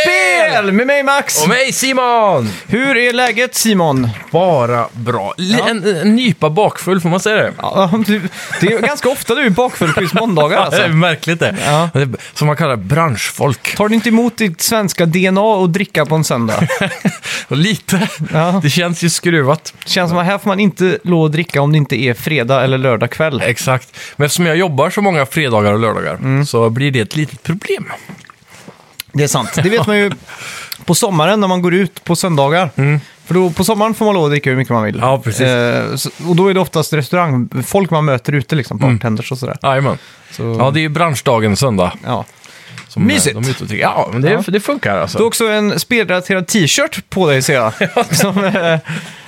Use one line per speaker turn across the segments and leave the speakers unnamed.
Spel med mig Max!
Och mig Simon!
Hur är läget Simon?
Bara bra. L-
Ja.
En, en nypa bakfull, får man säga det?
Ja, du- det är ju ganska ofta du är bakfull på just måndagar
Ja, det är
alltså.
märkligt det.
Ja.
Det är Som man kallar branschfolk.
Tar du inte emot ditt svenska DNA och dricka på en söndag?
Och lite.
Ja.
Det känns ju skruvat.
Känns som att här får man inte lov att dricka om det inte är fredag eller lördag kväll.
Exakt. Mm. Men eftersom jag jobbar så många fredagar och lördagar så blir det ett litet problem.
Det är sant. Det vet man ju på sommaren när man går ut på söndagar. För då, på sommaren får man lov att dricka hur mycket man vill.
Mm. Ja, precis.
Eh, så- och då är det oftast restaurangfolk man möter ute, liksom,
Mm.
bartenders och sådär.
Jajamän.
Så,
Ja,
ja,
det är ju branschdagen söndag. Som eh,
Mysigt.
De är ute och dricker. ja, men det,
Ja.
det funkar alltså.
Du har också en spelrelaterad t-shirt på dig ser jag. som, eh,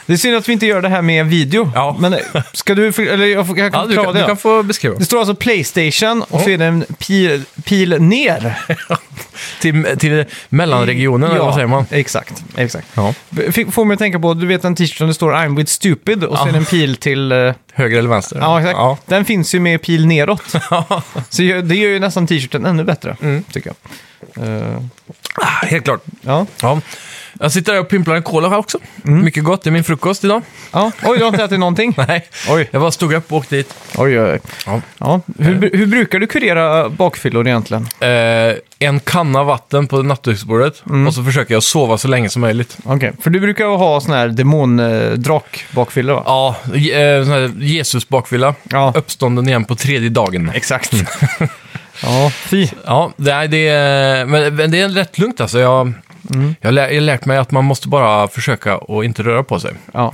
det är synd att vi inte gör det här med video.
Ja.
Men eh, ska du... för- Eller jag, får- jag kan
ja, du,
förklara
kan,
det.
du
ja.
kan få beskriva.
Det står alltså Playstation och så är det en pil, pil ner.
Till, till mellanregionen, eller vad säger man?
Exakt, exakt.
Ja.
Fick, får mig att tänka på, du vet en t-shirt där det står I'm with stupid och så
Ja.
är det en pil till... eh,
Höger eller vänster?
ja, exakt. Den finns ju med pil neråt.
Ja. Mm.
Så ju- det gör ju nästan t-shirten ännu bättre, tycker jag. Eh,
Ah, Helt klart.
ja.
Ja. Jag sitter här och pimplar en cola här också.
Mm.
Mycket gott. Det är min frukost idag.
ja. Oj, du har inte ätit någonting?
Nej.
Oj.
Jag bara stod upp och åkte dit.
Oj, oj, oj.
Ja.
Ja. Hur, bru- hur brukar du kurera bakfyllor egentligen?
Eh, en kanna vatten på nattduksbordet
Mm.
och så försöker jag sova så länge som möjligt.
Okej, för du brukar ju ha sån här demondrak-bakfyllor va?
Ja, eh, sån här Jesus bakfylla.
Ja.
Uppstånden igen på tredje dagen.
Exakt. ja, fy.
Ja, det är, det är, men, men det är rätt lugnt alltså. Jag,
Mm.
jag, har lä- jag har lärt mig att man måste bara försöka och inte röra på sig.
Ja.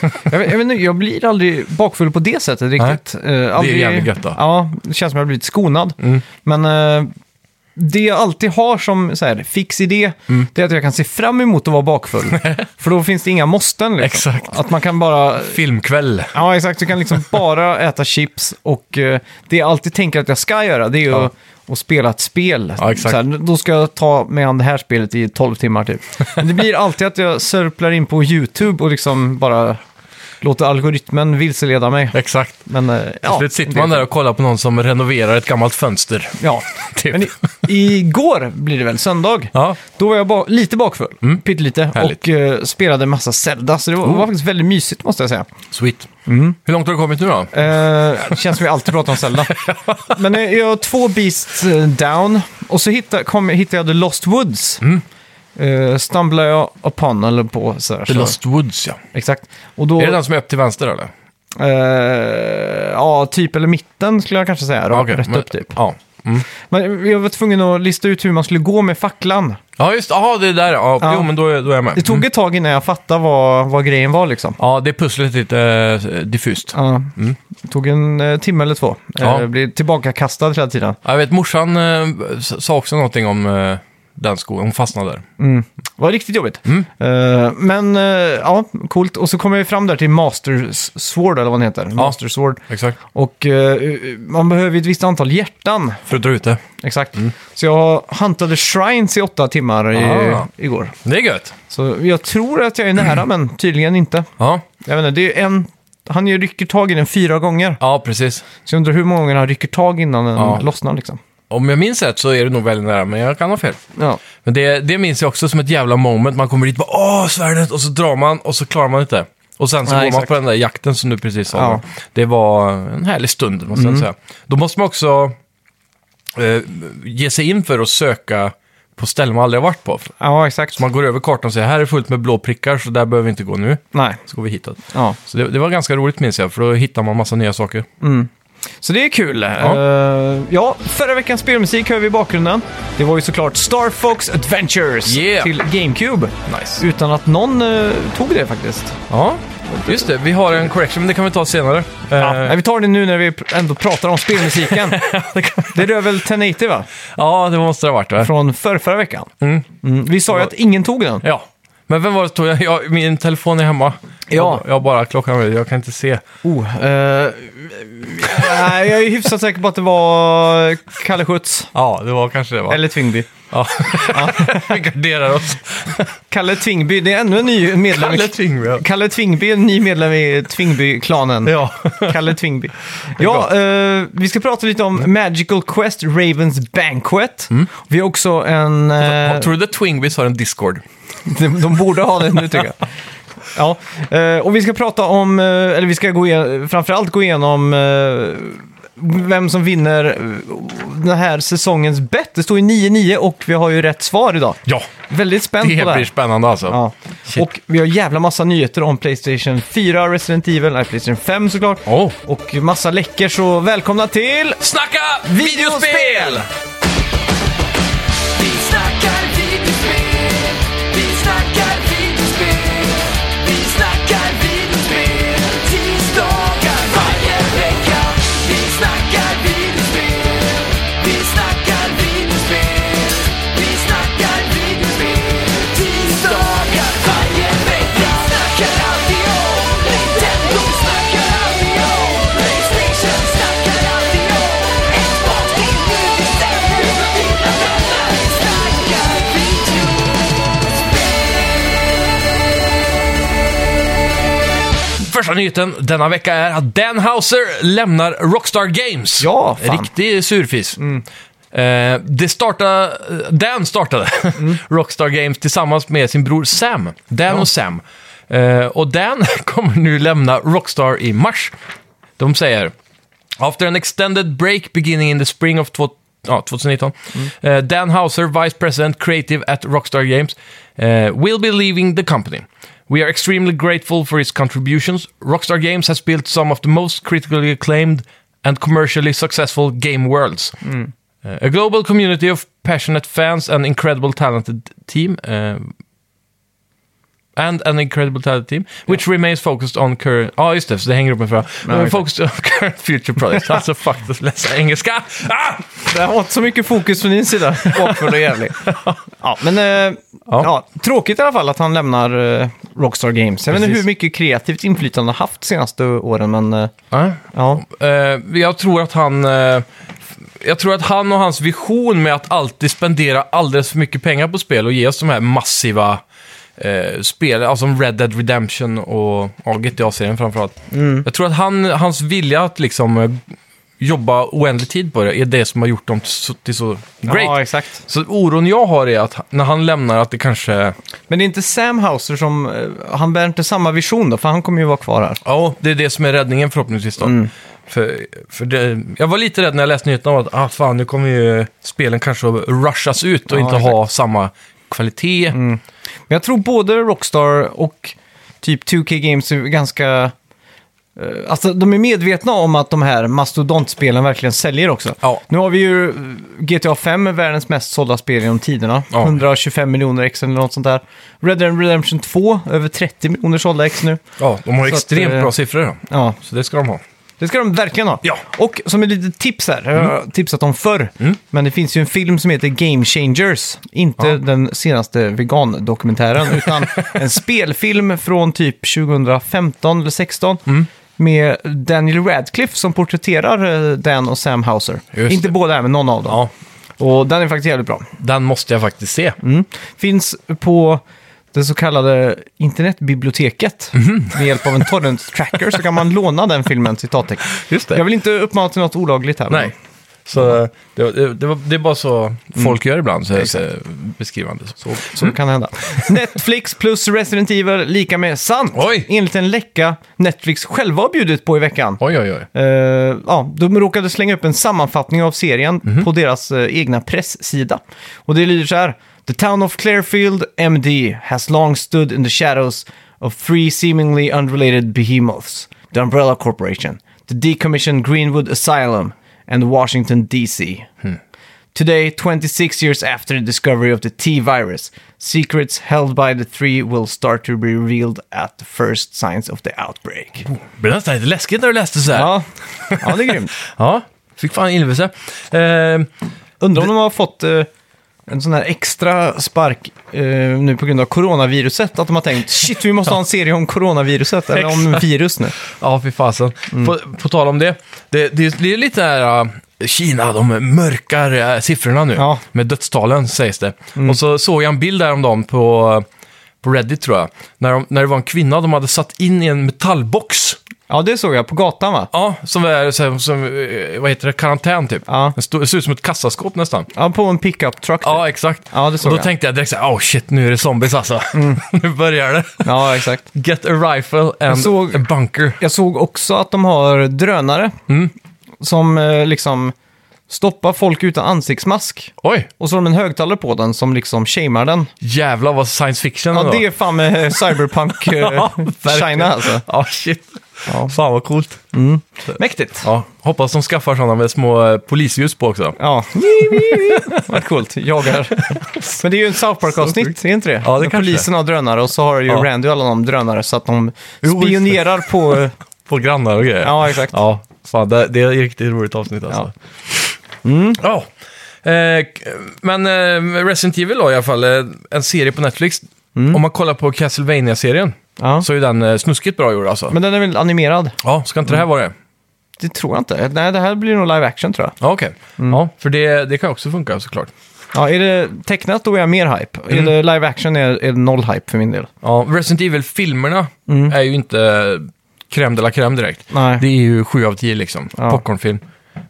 jag, vet, jag, vet, inte, jag blir aldrig bakfull på det sättet riktigt. Eh, aldrig-
jävligt gött då.
Ja, det känns som jag har blivit skonad. Men eh, det jag alltid har som så här, fix idé, det är att jag kan se fram emot att vara bakfull. För då finns det inga måsten. Liksom.
Exakt.
Att man kan bara...
Filmkväll.
Ja, exakt. Du kan liksom bara äta chips och eh, det jag alltid tänker att jag ska göra, det är ju
Ja.
att att spela ett spel.
Ja, exakt.
Så här, då ska jag ta mig an det här spelet i 12 timmar typ. Men det blir alltid att jag sörplar in på YouTube och liksom bara låter algoritmen vilseleda mig.
Exakt.
Men, eh,
Till
ja,
slut sitter man där och kollar på någon som renoverar ett gammalt fönster.
Ja,
Typ.
men i, igår blir det väl söndag.
Ja, Mm.
Då var jag ba- lite bakfull, pyttelite,
Härligt. Oh.
och eh, spelade en massa Zelda. Så det var, var faktiskt väldigt mysigt måste jag säga.
sweet.
Mm.
Hur långt har du kommit nu då?
Eh, det känns som vi alltid pratar om Zelda. Men eh, jag har två Beasts eh, down och så hittade, kom, hittade jag The Lost Woods. Mm. stumblade jag upon, eller på sådär.
The
så-
Lost Woods, ja.
Exakt. Och då,
Är det den som är upp till vänster eller?
eh, ja, typ eller mitten skulle jag kanske säga. Rakt,
Okej,
rätt
men-
upp typ.
Ja.
Men eh, jag var tvungen att lista ut hur man skulle gå med facklan.
Ja, just Aha, det är där. Ja,
Ja.
Jo, men då, är- då är jag med.
Det tog ett tag innan jag fattade vad, vad grejen var liksom.
Ja, det pusslet är lite eh, diffust.
Ja. Det tog en eh, timme eller två.
Mm. Ja.
Eh, blev tillbakakastad hela tiden.
Ja, Jag vet, morsan eh, s- sa också någonting om eh, den skogen. Hon fastnade där.
Mm. Det var riktigt jobbigt. Eh, men eh, ja, coolt. Och så kommer vi fram där till Master Sword, eller vad den heter. Master Sword.
Exakt.
Och eh, man behöver ju ett visst antal hjärtan.
För att dra ut det.
Exakt. Så jag hantade shrines i åtta timmar i,
Ah.
igår.
Det är gött.
Så jag tror att jag är nära, men tydligen inte.
Ja,
Jag vet inte, det är en... Han ju rycker tag i den fyra gånger.
ja precis.
Så jag undrar hur många gånger han rycker tag innan den
Ja.
lossnar liksom.
Om jag minns rätt så är det nog väldigt nära, men jag kan ha fel.
Ja.
Men det, det minns jag också som ett jävla moment. Man kommer dit och bara åh, svärdet! Och så drar man och så klarar man inte. Och sen så
Nej,
går man
exakt.
på den där jakten som du precis sa.
Ja. Mm.
Det var en härlig stund, måste jag säga. Då måste man också eh, ge sig in för att söka på ställen man aldrig har varit på.
ja, exakt.
Man går över kartan och säger här är fullt med blå prickar, så där behöver vi inte gå nu.
Nej.
Så går vi hitåt.
Ja.
Så det, det var ganska roligt minns jag, för då hittar man massa nya saker.
Så det är kul.
Ja.
Ja, ja förra veckans spelmusik hör vi i bakgrunden. Det var ju såklart Star Fox Adventures
Yeah.
till GameCube.
Nice.
Utan att någon eh, tog det faktiskt.
Ja, just det. Vi har en correction, men det kan vi ta senare.
Ja.
Eh,
Nej, vi tar det nu när vi pr- ändå pratar om spelmusiken. det rör väl 1080 va?
ja, det måste det ha varit. Va?
Från förra, förra veckan. Mm, Vi sa ju att ingen tog den.
Ja. Men vem var det som tog jag? jag? Min telefon är hemma.
Ja.
Jag, jag bara klockan är- jag kan inte se.
Oh, eh, nej, jag är hyfsat säker på att det var Kalle Schütz.
Ja, det var kanske det va?
Eller Tvingby.
Ja. vi garderar oss.
Kalle Tvingby, det är ännu en ny medlem. i-
Kalle Tvingby, ja.
Kalle Tvingby är en ny medlem i Tvingby-klanen.
Ja.
Kalle Tvingby. Ja, eh, vi ska prata lite om Magical Quest Ravens Banquet. Vi har också en... eh,
Mm. Tror du att Twingbys har en Discord?
de, de borde ha det nu tycker jag. Ja, eh, och vi ska prata om, eh, eller vi ska gå igen, framförallt gå igenom eh, vem som vinner eh, den här säsongens bett. Det står ju 9-9 och vi har ju rätt svar idag.
Ja,
Väldigt spänd på
det
det
blir
här.
spännande alltså.
Ja.
Shit.
Och vi har jävla massa nyheter om Playstation 4, Resident Evil, nej, Playstation 5 såklart.
Åh.
Och massa läcker, så välkomna till...
Snacka
videospel!
videospel!
Vi snackar videospel, vi snackar videospel, vi snackar videospel tisdagar varje vecka. Vi snackar videospel, vi snackar videospel, vi snackar videospel tisdagar varje vecka. Vi snackar alltid om Nintendo, vi snackar alltid om Playstation, vi snackar alltid om Xbox, det är nu vi sänder, mina vänner, vi snackar video.
Första nyheten denna vecka är att Dan Houser lämnar Rockstar Games.
Ja, fan. Mm.
Riktig surfis. Eh, det startade, eh, Dan startade
Mm.
Rockstar Games tillsammans med sin bror Sam. Dan och Sam. Eh, och Dan kommer nu lämna Rockstar i mars. De säger After an extended break beginning in the spring of tw- ah, ja, 2019, eh, Dan Houser, Vice President Creative at Rockstar Games, eh, will be leaving the company. We are extremely grateful for his contributions. Rockstar Games has built some of the most critically acclaimed and commercially successful game worlds. Eh, a global community of passionate fans and incredible talented team. eh, and an incredible talent team, which remains focused on current... Ja, just det, så det hänger upp med förra.
okej.
focused on current future products. alltså, fuck, att läsa engelska. Ah!
Det har inte så mycket fokus från din sida. Bakfull och jävlig. Ja, men eh, ja. tråkigt i alla fall att han lämnar eh, Rockstar Games. Jag vet inte
Precis.
hur mycket kreativt inflytande han haft de senaste åren, men eh,
Ja.
ja.
Eh, jag tror att han... eh, jag tror att han och hans vision med att alltid spendera alldeles för mycket pengar på spel och ge oss de här massiva eh, spel, alltså som Red Dead Redemption och ja, GTA-serien framförallt. Jag tror att han, hans vilja att liksom eh, jobba oändlig tid på det är det som har gjort dem till så, till så great.
ja, exakt.
Så oron jag har är att när han lämnar att det kanske...
Men det är inte Sam Houser som, eh, han bär inte samma vision då, för han kommer ju vara kvar här.
Ja, det är det som är räddningen förhoppningsvis då.
Mm.
För, för det, jag var lite rädd när jag läste nyheterna om att ah, fan, nu kommer ju spelen kanske att rushas ut och
Ja,
inte
exakt. Mm.
ha samma kvalitet.
Men jag tror både Rockstar och typ 2K Games är ganska... eh, Alltså de är medvetna om att de här mastodontspelen verkligen säljer också.
Ja.
Nu har vi ju eh, GTA 5, är världens mest sålda spel genom tiderna.
Ja.
125 miljoner ex eller något sånt där. Red Dead Redemption 2, över 30 miljoner sålda ex nu.
Ja, de har
Så
extremt
att, eh,
bra siffror då.
Ja,
Så det ska de ha.
det ska de verkligen ha.
Ja. Mm.
Och som ett litet tips här, jag har tipsat om förr, men det finns ju en film som heter Game Changers. Inte
Ja.
den senaste vegan-dokumentären, utan en spelfilm från typ 2015 eller 16
Mm.
med Daniel Radcliffe som porträtterar eh, Dan och Sam Houser.
Just
inte
det.
båda, men någon av dem.
Ja,
Och den är faktiskt jävligt bra.
den måste jag faktiskt se.
Mm. Finns på det så kallade internetbiblioteket.
Mhm.
Med hjälp av en torrent-tracker så kan man låna den filmen, citattecken.
Just
Jag vill inte uppmana till något olagligt här.
Nej.
Mm.
Så eh, det, det, det, var- det är bara så folk gör ibland, så, så beskrivande. Så,
Så kan det hända. Netflix plus Resident Evil lika med sant.
Oj.
Enligt en läcka Netflix själva har bjudit på i veckan.
Oj, oj, oj.
Eh, ja, de råkade slänga upp en sammanfattning av serien på deras eh, egna presssida. Och det lyder så här. The town of Clearfield, MD, has long stood in the shadows of three seemingly unrelated behemoths. The Umbrella Corporation, the decommissioned Greenwood Asylum and Washington DC. Today, 26 years after the discovery of the T virus, secrets held by the three will start to be revealed at the first signs of the outbreak.
Blev nästan lite läskigt när du läste så här. Ja,
Ja, ja det är grymt.
fick fan illvelse. Eh,
Undrar om de har fått eh, en sån här extra spark eh, nu på grund av coronaviruset. Att de har tänkt shit, vi måste ha en serie om coronaviruset, eller om virus nu.
Ja, fy fasen. På, på tal om det, det, det, det är lite där Kina, de mörkar eh, siffrorna nu
Ja.
Mm. med dödstalen, sägs det. Och så såg jag en bild häromdagen på äh, på Reddit tror jag. När, de, när det var en kvinna de hade satt in i en metallbox.
Ja, det såg jag på gatan va?
Ja, som är, så här- som, eh, vad heter det, karantän typ.
Ja.
Den stod- Det ser ut som ett kassaskåp nästan. Typ.
Ja, på en pickup truck. typ.
Ja, exakt.
Ja, det såg
och då
jag.
tänkte jag direkt så här, oh shit, nu är det zombies alltså. nu börjar det.
ja exakt.
Get a rifle and
såg-
a bunker.
Jag såg också att de har drönare
Mm.
som eh, liksom stoppar folk utan ansiktsmask.
Oj,
Och så har de en högtalare på den som liksom shamear den.
jävlar vad science fiction
Ja,
ändå.
det är fan med eh, cyberpunk eh,
verkligen.
China alltså.
Ja, shit.
Ja.
Fan vad coolt.
Mäktigt.
Ja, hoppas de skaffar sådana med små eh, polisljus på också.
Ja. Vad coolt. Jagar. Men det är ju en South Park-avsnitt, är inte det?
Ja, det
När
kanske
Polisen har drönare och så har ju
Ja.
Randy alla de drönare så att de
Jo, just det.
spionerar på... eh,
På grannar och grejer.
Ja, exakt.
Ja, fan, det, det är ett riktigt roligt avsnitt alltså.
Mm.
Ja. Eh, k- men eh, Resident Evil då i alla fall, eh, en serie på Netflix. Om man kollar på Castlevania-serien
Mm. Ja.
så är den eh, snuskigt bra gjord alltså.
Men den är väl animerad?
Ja, ska
Mm.
inte det här vara det?
Det tror jag inte. Nej, det här blir nog live action tror jag.
Ja, okej.
Mm.
Ja, för det, det kan också funka såklart.
Ja, är det tecknat då är jag mer hype.
Mm.
Är det live action är, är det noll hype för min del.
Ja, Resident Evil-filmerna
Mm.
är ju inte eh, crème de la crème direkt.
Nej.
Det är ju 7 av 10 liksom,
Ja.
popcornfilm.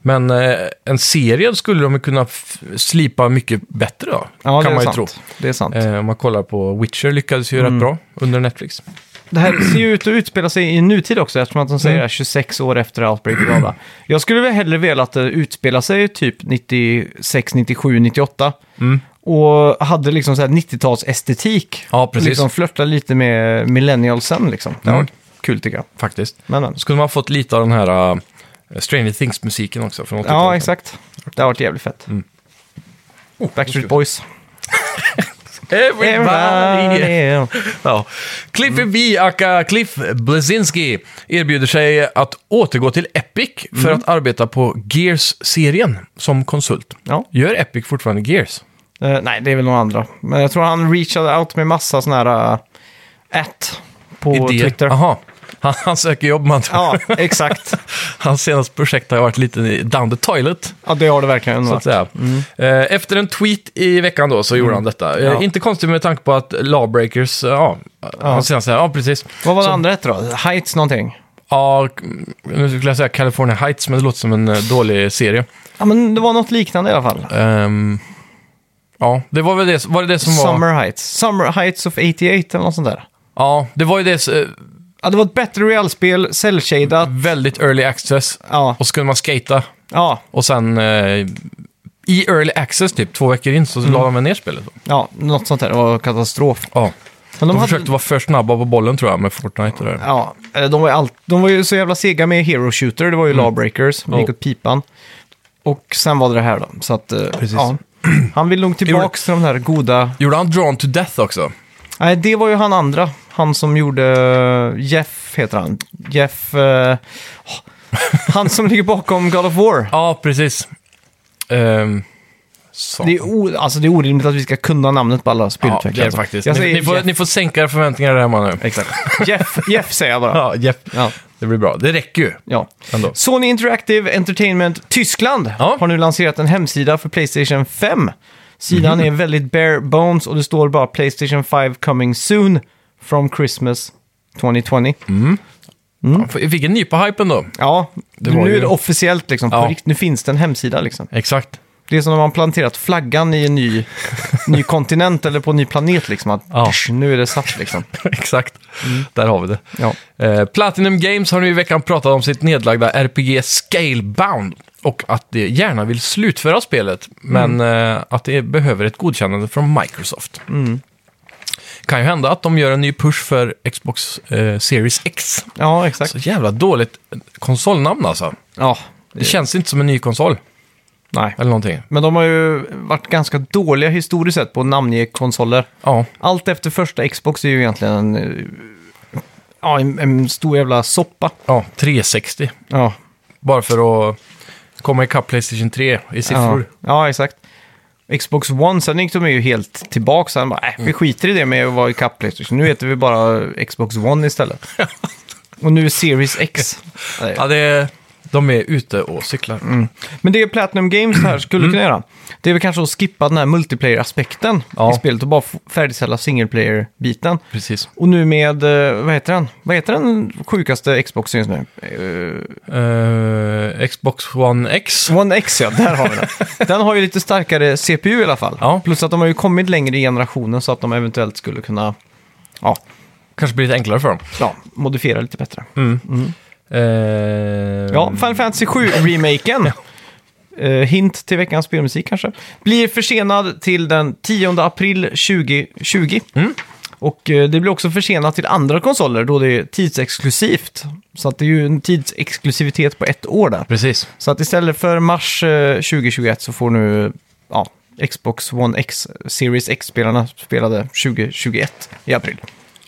Men eh, en serie skulle de ju kunna f- slipa mycket bättre då,
Ja,
kan
det är
man ju
sant. Mm.
tro.
Det är sant.
Eh, om man kollar på Witcher lyckades ju rätt bra under Netflix.
Det här ser ju ut att utspela sig i nutid också eftersom att de säger det här 26 år efter Outbreak. bla, bla. Jag skulle väl hellre vilja att det utspelade sig typ 96, 97, 98.
Mm.
Och hade liksom så här 90-tals estetik.
Ja, precis.
Liksom flörta lite med millennialsen liksom. Det var
Mm.
kul tycker jag.
Faktiskt.
Men, men.
Då skulle man ha fått lite av den här eh, Stranger Things-musiken också. Mm. Oh, Från 80-talet.
Ja, exakt. Det har varit jävligt fett. Backstreet Boys.
oh, Everybody!
Everybody. Mm.
Ja. Cliffy B, aka Cliff Blazinski, erbjuder sig att återgå till Epic för
Mm.
att arbeta på Gears-serien som konsult.
Ja.
Gör Epic fortfarande Gears?
Eh, nej, det är väl några andra. Men jag tror han reachade out med massa sådana här uh, at på Twitter.
Aha. Han, han söker jobb, man.
Ja, exakt.
Hans senaste projekt har ju varit lite down the toilet.
Ja, det har det verkligen
Så att
varit.
säga. Eh, Efter en tweet i veckan då så gjorde han detta. Eh,
Mm. Ja.
Inte konstigt med tanke på att Lawbreakers, eh, ja, hans senaste, ja precis.
Vad var det
Så-
andra hette då? Heights någonting?
Ja, nu skulle jag säga California Heights, men det låter som en eh, dålig serie.
Ja, men det var något liknande i alla fall.
Ehm, ja, det var väl det, var det, det som var...
Summer Heights. Summer Heights of 88 eller något sånt där.
Ja, det var ju det eh,
Ja, det var ett bättre realspel, cell-shadat.
väldigt early access.
Ja,
Och så kunde man skata
ja,
och sen eh, i early access typ två veckor in så
Mm.
la de väl ner spelet. då.
ja, något sånt där. Det var katastrof.
Ja,
Men
de,
hade-
försökte vara för snabba på bollen tror jag med Fortnite och det där.
Ja, eh, de var, ju allt, de var ju så jävla sega med Hero Shooter, det var ju Lawbreakers, det gick
Ja.
åt pipan. Och sen var det det här då, så att... eh,
Precis.
Ja. Han vill nog tillbaka till de där goda...
Gjorde han Drawn to Death också?
Nej, det var ju han andra. Han som gjorde... eh, Jeff heter han. Jeff... eh, åh, han som ligger bakom God of War.
Ja, precis. Ehm, så.
Det är, o, alltså det är orimligt att vi ska kunna namnet på alla
ja,
spelutvecklare.
det är det
alltså.
faktiskt.
Jag
Ni,
säger
ni, får,
Jeff.
ni får sänka era förväntningar där hemma nu.
Exakt. Jeff, Jeff säger jag bara.
Ja, Jeff. Mm.
Ja.
Det blir bra. Det räcker ju
ja.
ändå.
Sony Interactive Entertainment Tyskland
Ja.
har nu lanserat en hemsida för Playstation 5. Sidan
Mhm.
är väldigt bare bones och det står bara Playstation 5 coming soon from Christmas 2020.
Ja, för- Jag fick en nypa hypen då.
Ja,
var
nu
ju-
är det officiellt liksom.
Ja.
På rikt- nu finns det en hemsida liksom.
Exakt.
Det är som när man planterat flaggan i en ny, ny kontinent eller på en ny planet liksom. Att,
Ja.
Nu är det satt liksom.
Exakt. Där har vi det.
Ja.
Eh, Platinum Games har nu i veckan pratat om sitt nedlagda RPG Scalebound och att de gärna vill slutföra spelet, men eh, att det behöver ett godkännande från Microsoft. Kan ju hända att de gör en ny push för Xbox eh, Series X.
ja, exakt.
Så jävla dåligt konsolnamn alltså.
Ja,
Det känns inte som en ny konsol
nej.
eller någonting.
Men de har ju varit ganska dåliga historiskt sett på att namnge konsoler.
Ja,
Allt efter första Xbox är ju egentligen en, eh, ja, en, en stor jävla soppa.
ja 360.
Ja,
Bara för att komma ikapp Playstation 3 i siffror.
Ja, ja exakt. Xbox One, sen gick de ju helt tillbaka. Sen bara, äh, vi skiter i det med att vara i kapp Playstation. Nu heter vi bara Xbox One istället. Och nu är Series X.
Ja, det, De är ute och cyklar.
Men det Platinum Games här skulle kunna göra, det är väl kanske att skippa den här multiplayer-aspekten
Ja.
i spelet och bara f- färdigställa singleplayer-biten.
Precis.
Och nu med, eh, vad heter den? Vad heter den sjukaste Xboxen just nu? Eh,
Eh, Xbox One X.
One X ja, där har vi den. Den har ju lite starkare CPU i alla fall.
Ja.
Plus att de har ju kommit längre i generationen så att de eventuellt skulle kunna ja,
Kanske blir lite enklare för dem.
ja, modifiera lite bättre.
Eh,
Ja, Final Fantasy 7-remaken. hint till veckans spelmusik kanske. Blir försenad till den 10 april 2020. Och eh, det blir också försenat till andra konsoler då det är tidsexklusivt. Så att det är ju en tidsexklusivitet på ett år där.
Precis.
Så att istället för mars eh, 2021 så får nu eh, ja, Xbox One X, Series X-spelarna spelade 2021 i april.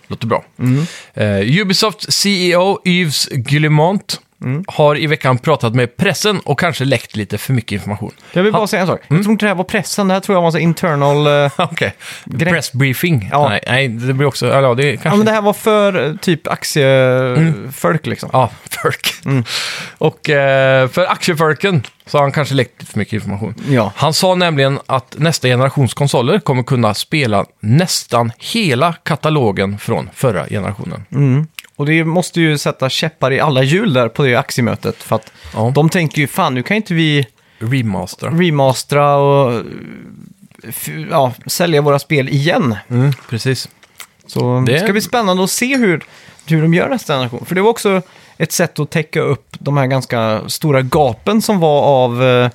Låter bra.
Mm.
Eh, Ubisoft CEO Yves Guillemot
Mm.
har i veckan pratat med pressen och kanske läckt lite för mycket information.
Jag vill bara säga en sak. Jag tror inte det här var pressen, det här tror jag var en sån internal... eh,
Okej.
Gre-
Press briefing.
Ja.
Nej, nej, det blir också... Eller, ja, det är kanske...
Ja, men det här var för eh, typ aktiefolk liksom.
Ja, förk.
Mm.
Och eh, för aktieförken så har han kanske läckt lite för mycket information.
Ja.
Han sa nämligen att nästa generations konsoler kommer kunna spela nästan hela katalogen från förra generationen.
Mm. Och det måste ju sätta käppar i alla hjul där på det aktiemötet. För att
Ja.
de tänker ju fan, nu kan inte vi
Remaster.
remastera och eh, f- ja, sälja våra spel igen.
Mm. Precis.
Så
Det-
det ska bli spännande att se hur, hur de gör nästa generation. För det var också ett sätt att täcka upp de här ganska stora gapen som var av, eh,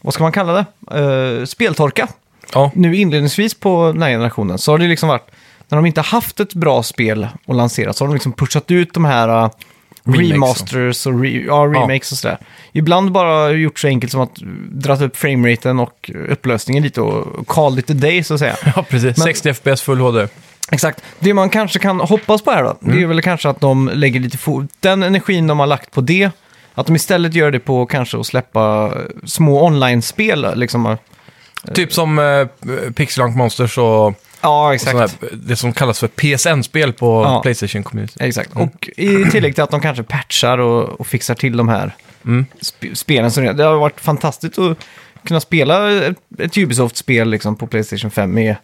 vad ska man kalla det, eh, speltorka.
Ja,
nu inledningsvis på den här generationen så har det liksom varit, när de inte haft ett bra spel att lansera så har de liksom pushat ut de här uh,
Remakes
remasters och re, ja, remakes och sådär. Ibland bara gjort så enkelt som att dra upp frameraten och upplösningen lite och call it a day så att säga.
ja precis.
Men-
60 FPS full HD.
Exakt. Det man kanske kan hoppas på här då, det är väl kanske att de lägger lite fo- den energin de har lagt på det, att de istället gör det på kanske att släppa eh, små online-spel. Liksom. eh,
Typ som eh, Pixel Junk Monsters och
Ja,
och såna här, det som kallas för PSN-spel på
Ja.
Playstation Community.
Exakt, och i tillägg till att de kanske patchar och, och fixar till de här
Mm.
sp- spelen. Som, det har varit fantastiskt att kunna spela ett, ett Ubisoft-spel liksom, på Playstation 5 med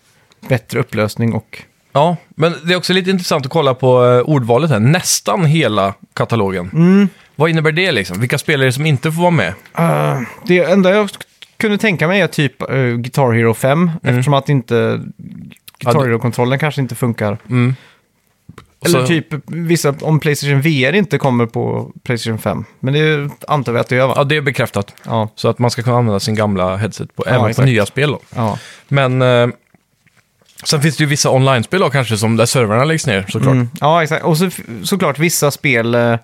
bättre upplösning och...
Ja, men det är också lite intressant att kolla på eh, ordvalet här. Nästan hela katalogen. Vad innebär det liksom? Vilka spelare som inte får vara med?
Eh, det enda jag kunde tänka mig är typ eh, Guitar Hero 5, eftersom att inte...
Mm. Ja,
Guitar
det-
Hero-kontrollen kanske inte funkar.
Och så-
Eller typ vissa, om Playstation VR inte kommer på Playstation 5. Men det antar vi att det gör va?
Ja, det är bekräftat.
Ja.
Så att man ska kunna använda sin gamla headset på,
Ja,
även på
exakt.
nya spel. Då.
ja.
Men eh, sen finns det ju vissa online-spel då, kanske som där servrarna läggs ner såklart.
Mm. Ja, exakt. Och så, f- såklart vissa spel eh,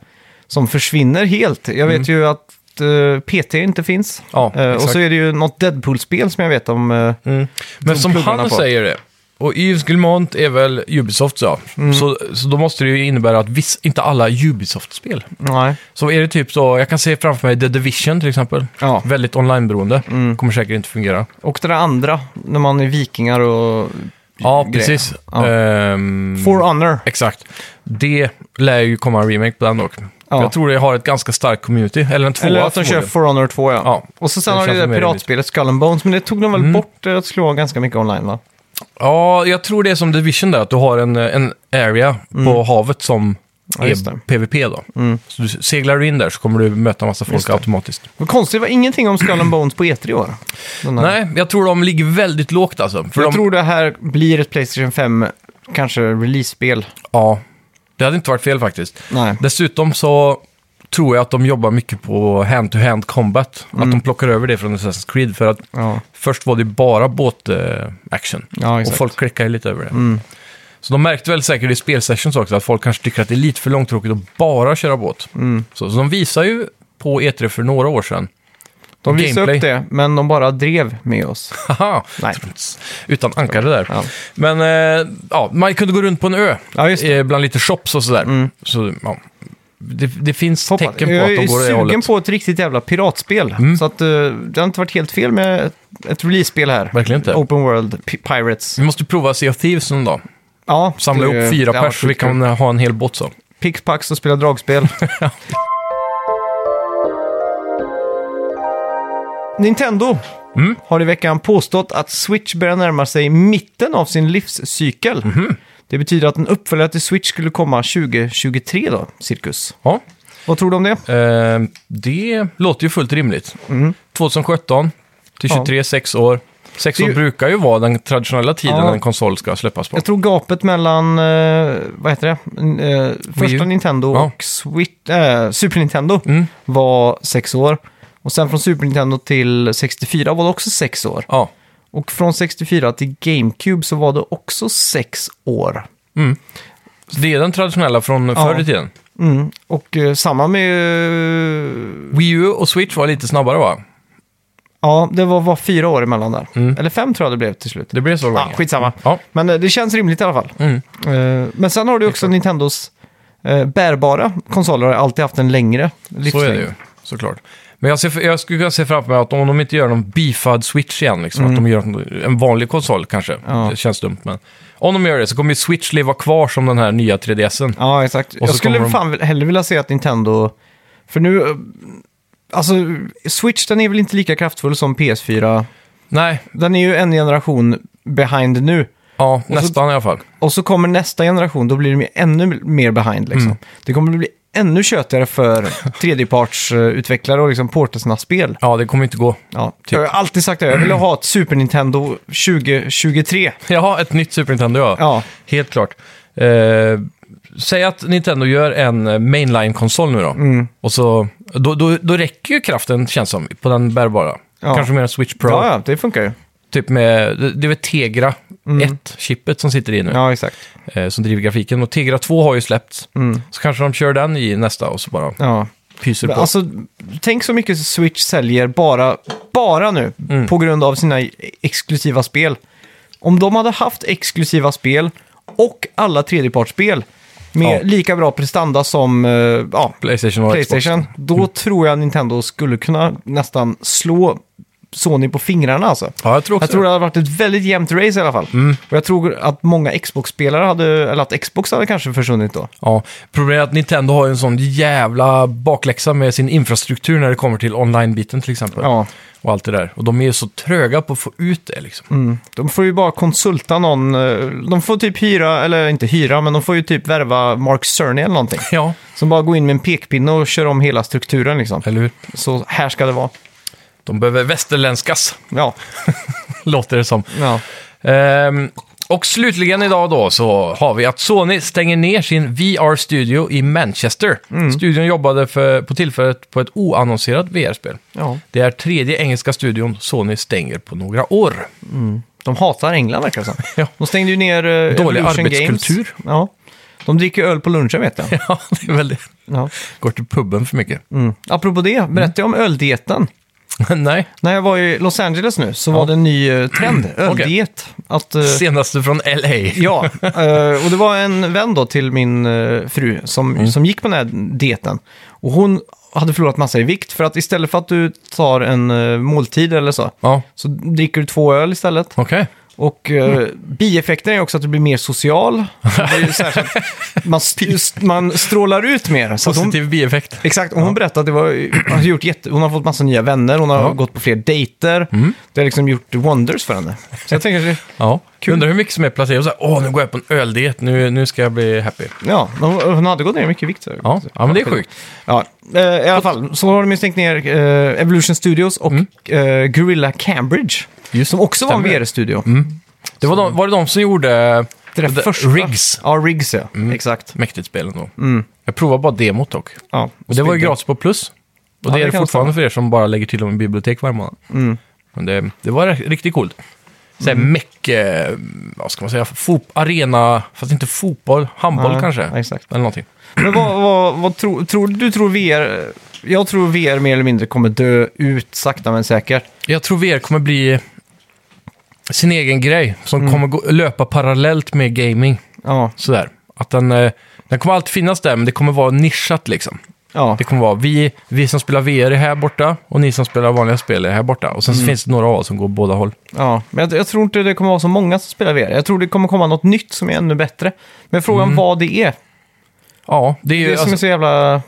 som försvinner helt. Jag vet ju att eh, PT inte finns.
Mm. Ja,
Eh, och
exakt.
så är det ju något Deadpool-spel som jag vet om. eh,
Mm. Men
Som
som
pluggarna
han
på.
säger det, och Yves Guillemot är väl Ubisoft ja.
Mm.
så, så då måste det ju innebära att viss, inte alla Ubisoft-spel.
Nej.
Så är det typ så, jag kan se framför mig The Division till exempel.
Ja. Mm.
Väldigt onlineberoende, kommer säkert inte fungera.
Och det där andra, när man är vikingar och...
Mm. Ja,
grejer.
precis.
Ja.
Ehm,
For Honor.
Exakt. Det lär ju komma en remake på den dock.
Ja.
Jag tror det har ett ganska starkt community, eller en tvåa
Eller att de kör
förmodligen.
For Honor 2, ja.
Ja.
Och så sen
Det
har det
känns
där
mer rimligt.
piratspelet Skull and Bones, men det tog de väl
Mm.
bort eh, att slå ganska mycket online, va?
Ja, jag tror det är som Division där, att du har en, eh, en area på havet som
Mm. Ja, just det. Mm.
är PVP då. Så du seglar du in där så kommer du möta en massa
Just
folk
det.
automatiskt.
Men konstigt, det var ingenting om Skull and Bones på E3 i år. Den här-
Nej, jag tror de ligger väldigt lågt alltså. För
Jag
de,
tror det här blir ett Playstation 5, kanske release-spel.
Ja, det hade inte varit fel faktiskt.
Nej.
Dessutom så tror jag att de jobbar mycket på hand-to-hand combat. Att
Mm.
de plockar över det från Assassin's Creed. För att
Ja.
först var det bara eh, båt-action.
Ja,
och
exakt. Mm.
folk klickar ju lite över det. Så de märkte väl säkert i spelsessions också att folk kanske tycker att det är lite för långtråkigt att bara köra båt.
Mm.
Så, så de visar ju på E3 för några år sedan.
De visade
Gameplay.
upp det, men de bara drev med oss.
Haha!
Nej.
Utan ankare där.
Ja.
Men eh, ja, man kunde gå runt på en ö
Ja, just det. Mm.
eh, bland lite shops och sådär. Så, ja, det, det finns
Hoppas-
tecken på att de går Mm.
Jag
det
är sugen
hållet.
på ett riktigt jävla piratspel. Så att, eh, det har inte varit helt fel med ett, ett release-spel här.
Verkligen inte.
Open World P- Pirates.
Vi måste prova Sea of Thieves någon dag.
Ja,
Samla
det-
ihop fyra
det har
pers så vi
varit
kan ha en hel båt så.
Pickpax och spela dragspel. Nintendo
Mm.
har i veckan påstått att Switch börjar närma sig mitten av sin livscykel.
Mhm.
Det betyder att en uppföljare till Switch skulle komma 2023 då, cirkus.
Ja.
Vad tror du om det?
Eh, det låter ju fullt rimligt.
Mm.
2017 till 23, sex år. Sex
Det är
år
ju-
brukar ju vara den traditionella tiden
Ja.
en konsol ska släppas på.
Jag tror gapet mellan, eh, vad heter det, eh, första
U.
Nintendo
Ja. Mm.
och Switch, eh, Super Nintendo var sex år. Och sen från Super Nintendo till 64 var det också sex år.
Ja.
Och från 64 till GameCube så var det också sex år.
Så det är den traditionella från förr i tiden.
Mm. Och eh, samma med... eh,
Wii U och Switch var lite snabbare va?
ja, det var, var fyra år emellan där. Eller fem tror jag det blev till slut.
Mm. Det blev så
ah,
länge.
skitsamma.
Ja.
Men eh, det känns rimligt i alla fall.
Mm.
Eh, men sen har du också Nintendos eh, bärbara konsoler har alltid haft en längre
Så
livslängd.
är det ju, såklart. Men jag, ser, jag skulle kunna se framför mig att om de inte gör någon beefad switch igen, liksom, att de gör en- en vanlig konsol kanske,
Mm. Ja.
det känns dumt, men om de gör det så kommer ju switch leva kvar som den här nya 3DSen.
Ja, exakt. Jag
så
skulle
kommer de-
fan väl- hellre vilja se att Nintendo... För nu... eh, Alltså, Switch den är väl inte lika kraftfull som PS4.
Nej,
Den är ju en generation behind nu.
ja, nästan i alla fall.
Och så kommer nästa generation, då blir de ju ännu mer behind liksom.
Mm.
Det kommer bli ännu tjötigare för tredjepartsutvecklare och liksom porta sina spel.
Ja, typ. det kommer inte gå.
Ja, Jag har alltid sagt det, jag vill ha ett Super Nintendo 2023.
Ja, ett nytt Super Nintendo, ja.
Ja,
Helt klart. Eh, säg att Nintendo gör en eh, mainline-konsol nu då.
Mm.
Och så, då, då, då räcker ju kraften, känns som, på den bärbara.
Ja.
Kanske mer en Switch Pro.
ja, ja det funkar ju.
Typ med, det- det är väl Tegra 1-chippet som sitter i nu.
Mm. Ja, exakt.
eh, som driver grafiken. Och Tegra 2 har ju släppts. Så kanske de kör den i nästa och så bara
Mm. Ja.
pyser på.
Alltså, tänk så mycket Switch säljer bara, bara nu på grund av sina exklusiva spel. Om de hade haft exklusiva spel och alla tredjepartsspel med
Ja.
lika bra prestanda som eh, ja,
Playstation och
Playstation, då tror jag Nintendo skulle kunna nästan slå Sony på fingrarna alltså.
Ja, jag tror också
Jag tror det hade varit ett väldigt jämnt race i alla fall. Och jag tror att många Xbox-spelare hade, eller att Xbox hade kanske försvunnit då.
Ja, problemet är att Nintendo har ju en sån jävla bakläxa med sin infrastruktur när det kommer till online-biten till exempel.
Ja.
Och allt det där. Och de är ju så tröga på att få ut det liksom.
Mm. De får ju bara konsulta någon, eh, de får typ hyra, eller inte hyra, men de får ju typ värva Mark Cerny eller någonting.
Ja,
Som bara går in med en pekpinne och kör om hela strukturen liksom.
eller hur?
Så här ska det vara.
De behöver västerländskas,
Ja,
låter det som.
ja.
Ehm, och slutligen idag då så har vi att Sony stänger ner sin VR-studio i Manchester.
Mm.
Studion jobbade för, på tillfället på ett oannonserat VR-spel.
ja.
Det är tredje engelska studion Sony stänger på några år.
De hatar England verkar det som.
Ja.
De stängde ju ner uh,
Dålig arbetskultur.
Games. Ja. De dricker öl på lunchen vet jag.
Ja, det är väl det.
Ja.
Går till puben för mycket.
Mm. Apropå det, berättade jag om öldieten. Mm.
Nej,
När jag var i Los Angeles nu så var det en ny eh, trend, öldiet. Att, eh,
senaste från LA.
Ja, eh, och det var en vän då till min eh, fru som, som gick på den här dieten. Och hon hade förlorat massa i vikt för att istället för att du tar en eh, måltid eller så,
Ja,
så dricker du två öl istället.
okej.
Och eh, bieffekten är också att du blir mer social. Det är ju så här så att man, st- st- man strålar ut mer. Så att hon,
Positiv bieffekt.
Exakt, och hon berättade att det var, hon, har gjort jätte, hon har fått massa nya vänner, hon har
Ja.
gått på fler dejter. Det har liksom gjort wonders för henne. Så jag tänker,
Ja. Undrar hur mycket som är placebo. Så här, Åh, nu går jag på en öldiet. Nu, nu ska jag bli happy.
ja, hon, hon hade gått ner mycket i vikt. så-
Ja, ja men det är sjukt.
Ja, eh, i alla fall så har de ju stängt ner eh, Evolution Studios och eh, Gorilla Cambridge.
Mm. Just
som också var en
stämmer.
VR-studio.
Det var, de, var det de som gjorde
Det där
The Mm.
första-
Rigs?
Ja, Riggs ja. Exakt.
Mäktigt spel ändå. Jag provade bara demot dock.
Ja,
Och det var
Spindel.
ju gratis på plus. Och
Ja,
det
det
är det
kan
fortfarande för er som bara lägger till om en bibliotek varje månad. Men det, det var riktigt coolt. Såhär mm. meck, eh, vad ska man säga, fot, arena, fast inte fotboll, handboll
Ja,
kanske.
exakt.
Eller någonting.
Men vad, vad, vad tror, tror du tror VR... Jag tror VR mer eller mindre kommer dö ut sakta men säkert.
Jag tror VR kommer bli sin egen grej som kommer gå, löpa parallellt med gaming.
Ja,
Sådär. Att den, eh, den kommer alltid finnas där, men det kommer vara nischat liksom.
ja.
Det kommer vara vi, vi som spelar VR är här borta och ni som spelar vanliga spel är här borta. Och sen
Mm.
så finns det några av oss som går båda håll.
ja. Men jag, jag tror inte det kommer vara så många som spelar VR. Jag tror det kommer komma något nytt som är ännu bättre. Men frågan vad det är.
Ja, det är Mm.
Det
ju...
är som
alltså-
är så jävla...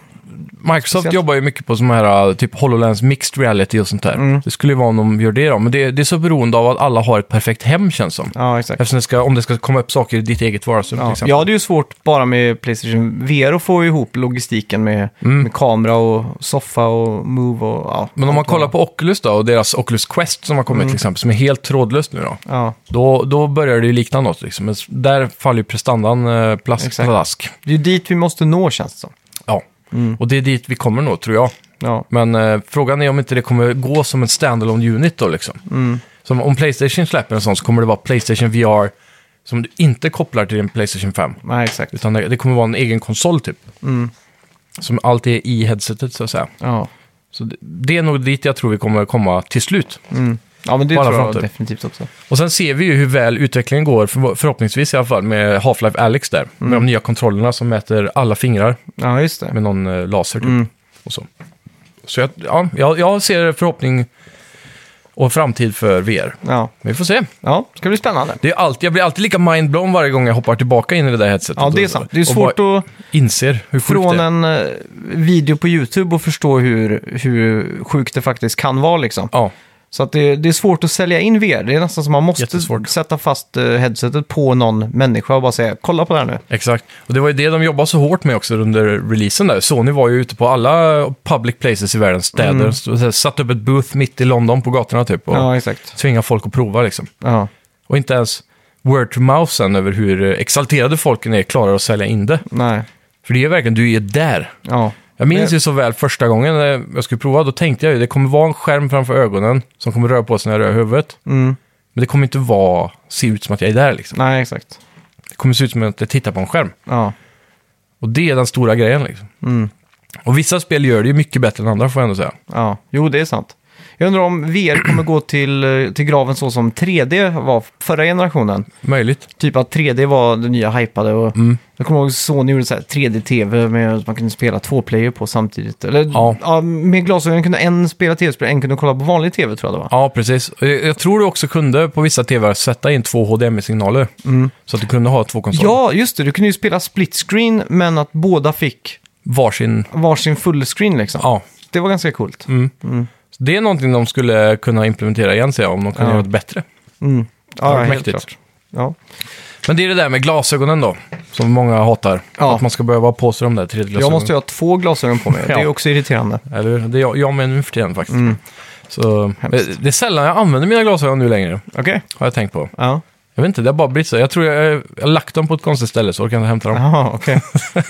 Microsoft
Speciellt.
jobbar ju mycket på sådana här typ HoloLens Mixed Reality och sånt där.
Mm.
Det skulle ju vara om de gör det då, men det, det är så beroende av att alla har ett perfekt hem känns som.
Ja, exakt.
Eftersom det ska, om det ska komma upp saker i ditt eget vardagsrum till
Ja.
exempel.
Jag hade ju svårt bara med Playstation VR att få ihop logistiken med, med kamera och soffa och move och ja.
Mm. Men om man kollar på Oculus då, och deras Oculus Quest som har
Mm.
kommit till exempel, som är helt trådlöst nu då.
Ja.
Då, då börjar det ju likna något liksom. Men s- där faller ju prestandan eh, plast,
Exakt.
pladask.
Det är ju dit vi måste nå känns det som.
Ja, och det är dit vi kommer nå tror jag.
Ja.
Men eh, frågan är om inte det kommer gå som en standalone unit då liksom. Som om Playstation släpper en sån så kommer det vara Playstation VR som du inte kopplar till din Playstation 5.
Nej, exakt.
Utan det det kommer vara en egen konsol typ. Som allt är i headsetet så att säga.
Ja.
Så det, det är nog dit jag tror vi kommer komma till slut.
Mm. ja, men det
På alla
tror jag
fronter.
definitivt också.
Och sen ser vi ju hur väl utvecklingen går, för, förhoppningsvis i alla fall, med Half-Life Alyx där. Med de nya kontrollerna som mäter alla fingrar
Ja, just det.
med någon eh, laser typ.
Mm.
Och så så jag, ja, jag, jag ser förhoppning och framtid för VR.
Ja.
Men vi får se.
ja, det ska bli spännande.
Det är alltid, jag blir alltid lika mindblown varje gång jag hoppar tillbaka in i det där headsetet.
Ja, det är
och-
sant. Det är
och
svårt
bara
att
Inser hur sjukt
från
det är.
en eh, video på YouTube och förstå hur, hur sjukt det faktiskt kan vara liksom.
Ja,
Så att det, det är svårt att sälja in VR. Det är nästan som man måste
Jättesvårt.
sätta fast eh, headsetet på någon människa och bara säga kolla på det här nu.
exakt. Och det var ju det de jobbade så hårt med också under releasen där. Sony var ju ute på alla public places i världens städer. Så- så- Satt upp ett booth mitt i London på gatorna typ. Och
Mm. Ja, exakt.
tvinga folk att prova liksom.
Ja.
Och inte ens word to mouth sen över hur eh, exalterade folken är klarar att sälja in det.
Nej.
För det är verkligen, du är där.
Ja.
Jag minns
Men-
ju så väl första gången eh, jag skulle prova, då tänkte jag ju det kommer vara en skärm framför ögonen som kommer röra på sig när jag rör huvudet.
Mm.
Men det kommer inte vara, se ut som att jag är där liksom.
Nej, exakt.
Det kommer se ut som att jag tittar på en skärm.
Ja.
Och det är den stora grejen liksom.
Mm.
Och vissa spel gör det ju mycket bättre än andra får jag ändå säga.
ja. Jo, det är sant. Jag undrar om VR kommer gå till, eh, till graven så som 3D var förra generationen.
Möjligt.
Typ att 3D var det nya hypade och
Mm.
jag kommer ihåg Sony gjorde så här 3D-TV med att man kunde spela två player på samtidigt. Eller ja.
Ja.
med glasögon kunde en spela tv-spel, en kunde kolla på vanlig tv tror jag det var.
Ja, precis. Och Jag jag tror du också kunde på vissa tv sätta in två HDMI-signaler. Så att du kunde ha två konsoler.
Mm. Ja, just det. Du kunde ju spela split screen men att båda fick
Varsin.
varsin fullscreen liksom.
Ja. Mm.
Det var ganska coolt.
Så det är någonting de skulle kunna implementera igen, ser jag, om de kunde
Ja.
göra det bättre.
Mm.
Det
Ja,
hade varit
helt
mäktigt.
klart. Ja.
Men det är det där med glasögonen då, som många hatar.
Ja.
Att man ska behöva ha på sig de där 3D-glasögonen.
Jag måste ju ha två glasögon på mig. Det är
Ja.
också irriterande.
Eller hur? Det är jag, jag med nu för tiden faktiskt. Så,
Mm.
eh,
Hemskt.
det är sällan jag använder mina glasögon nu längre,
Okej.
har jag tänkt på.
Ja.
Jag vet inte, det har bara blivit så. Jag tror jag, jag har lagt dem på ett konstigt ställe så jag kan inte hämta dem.
Jaha, okej.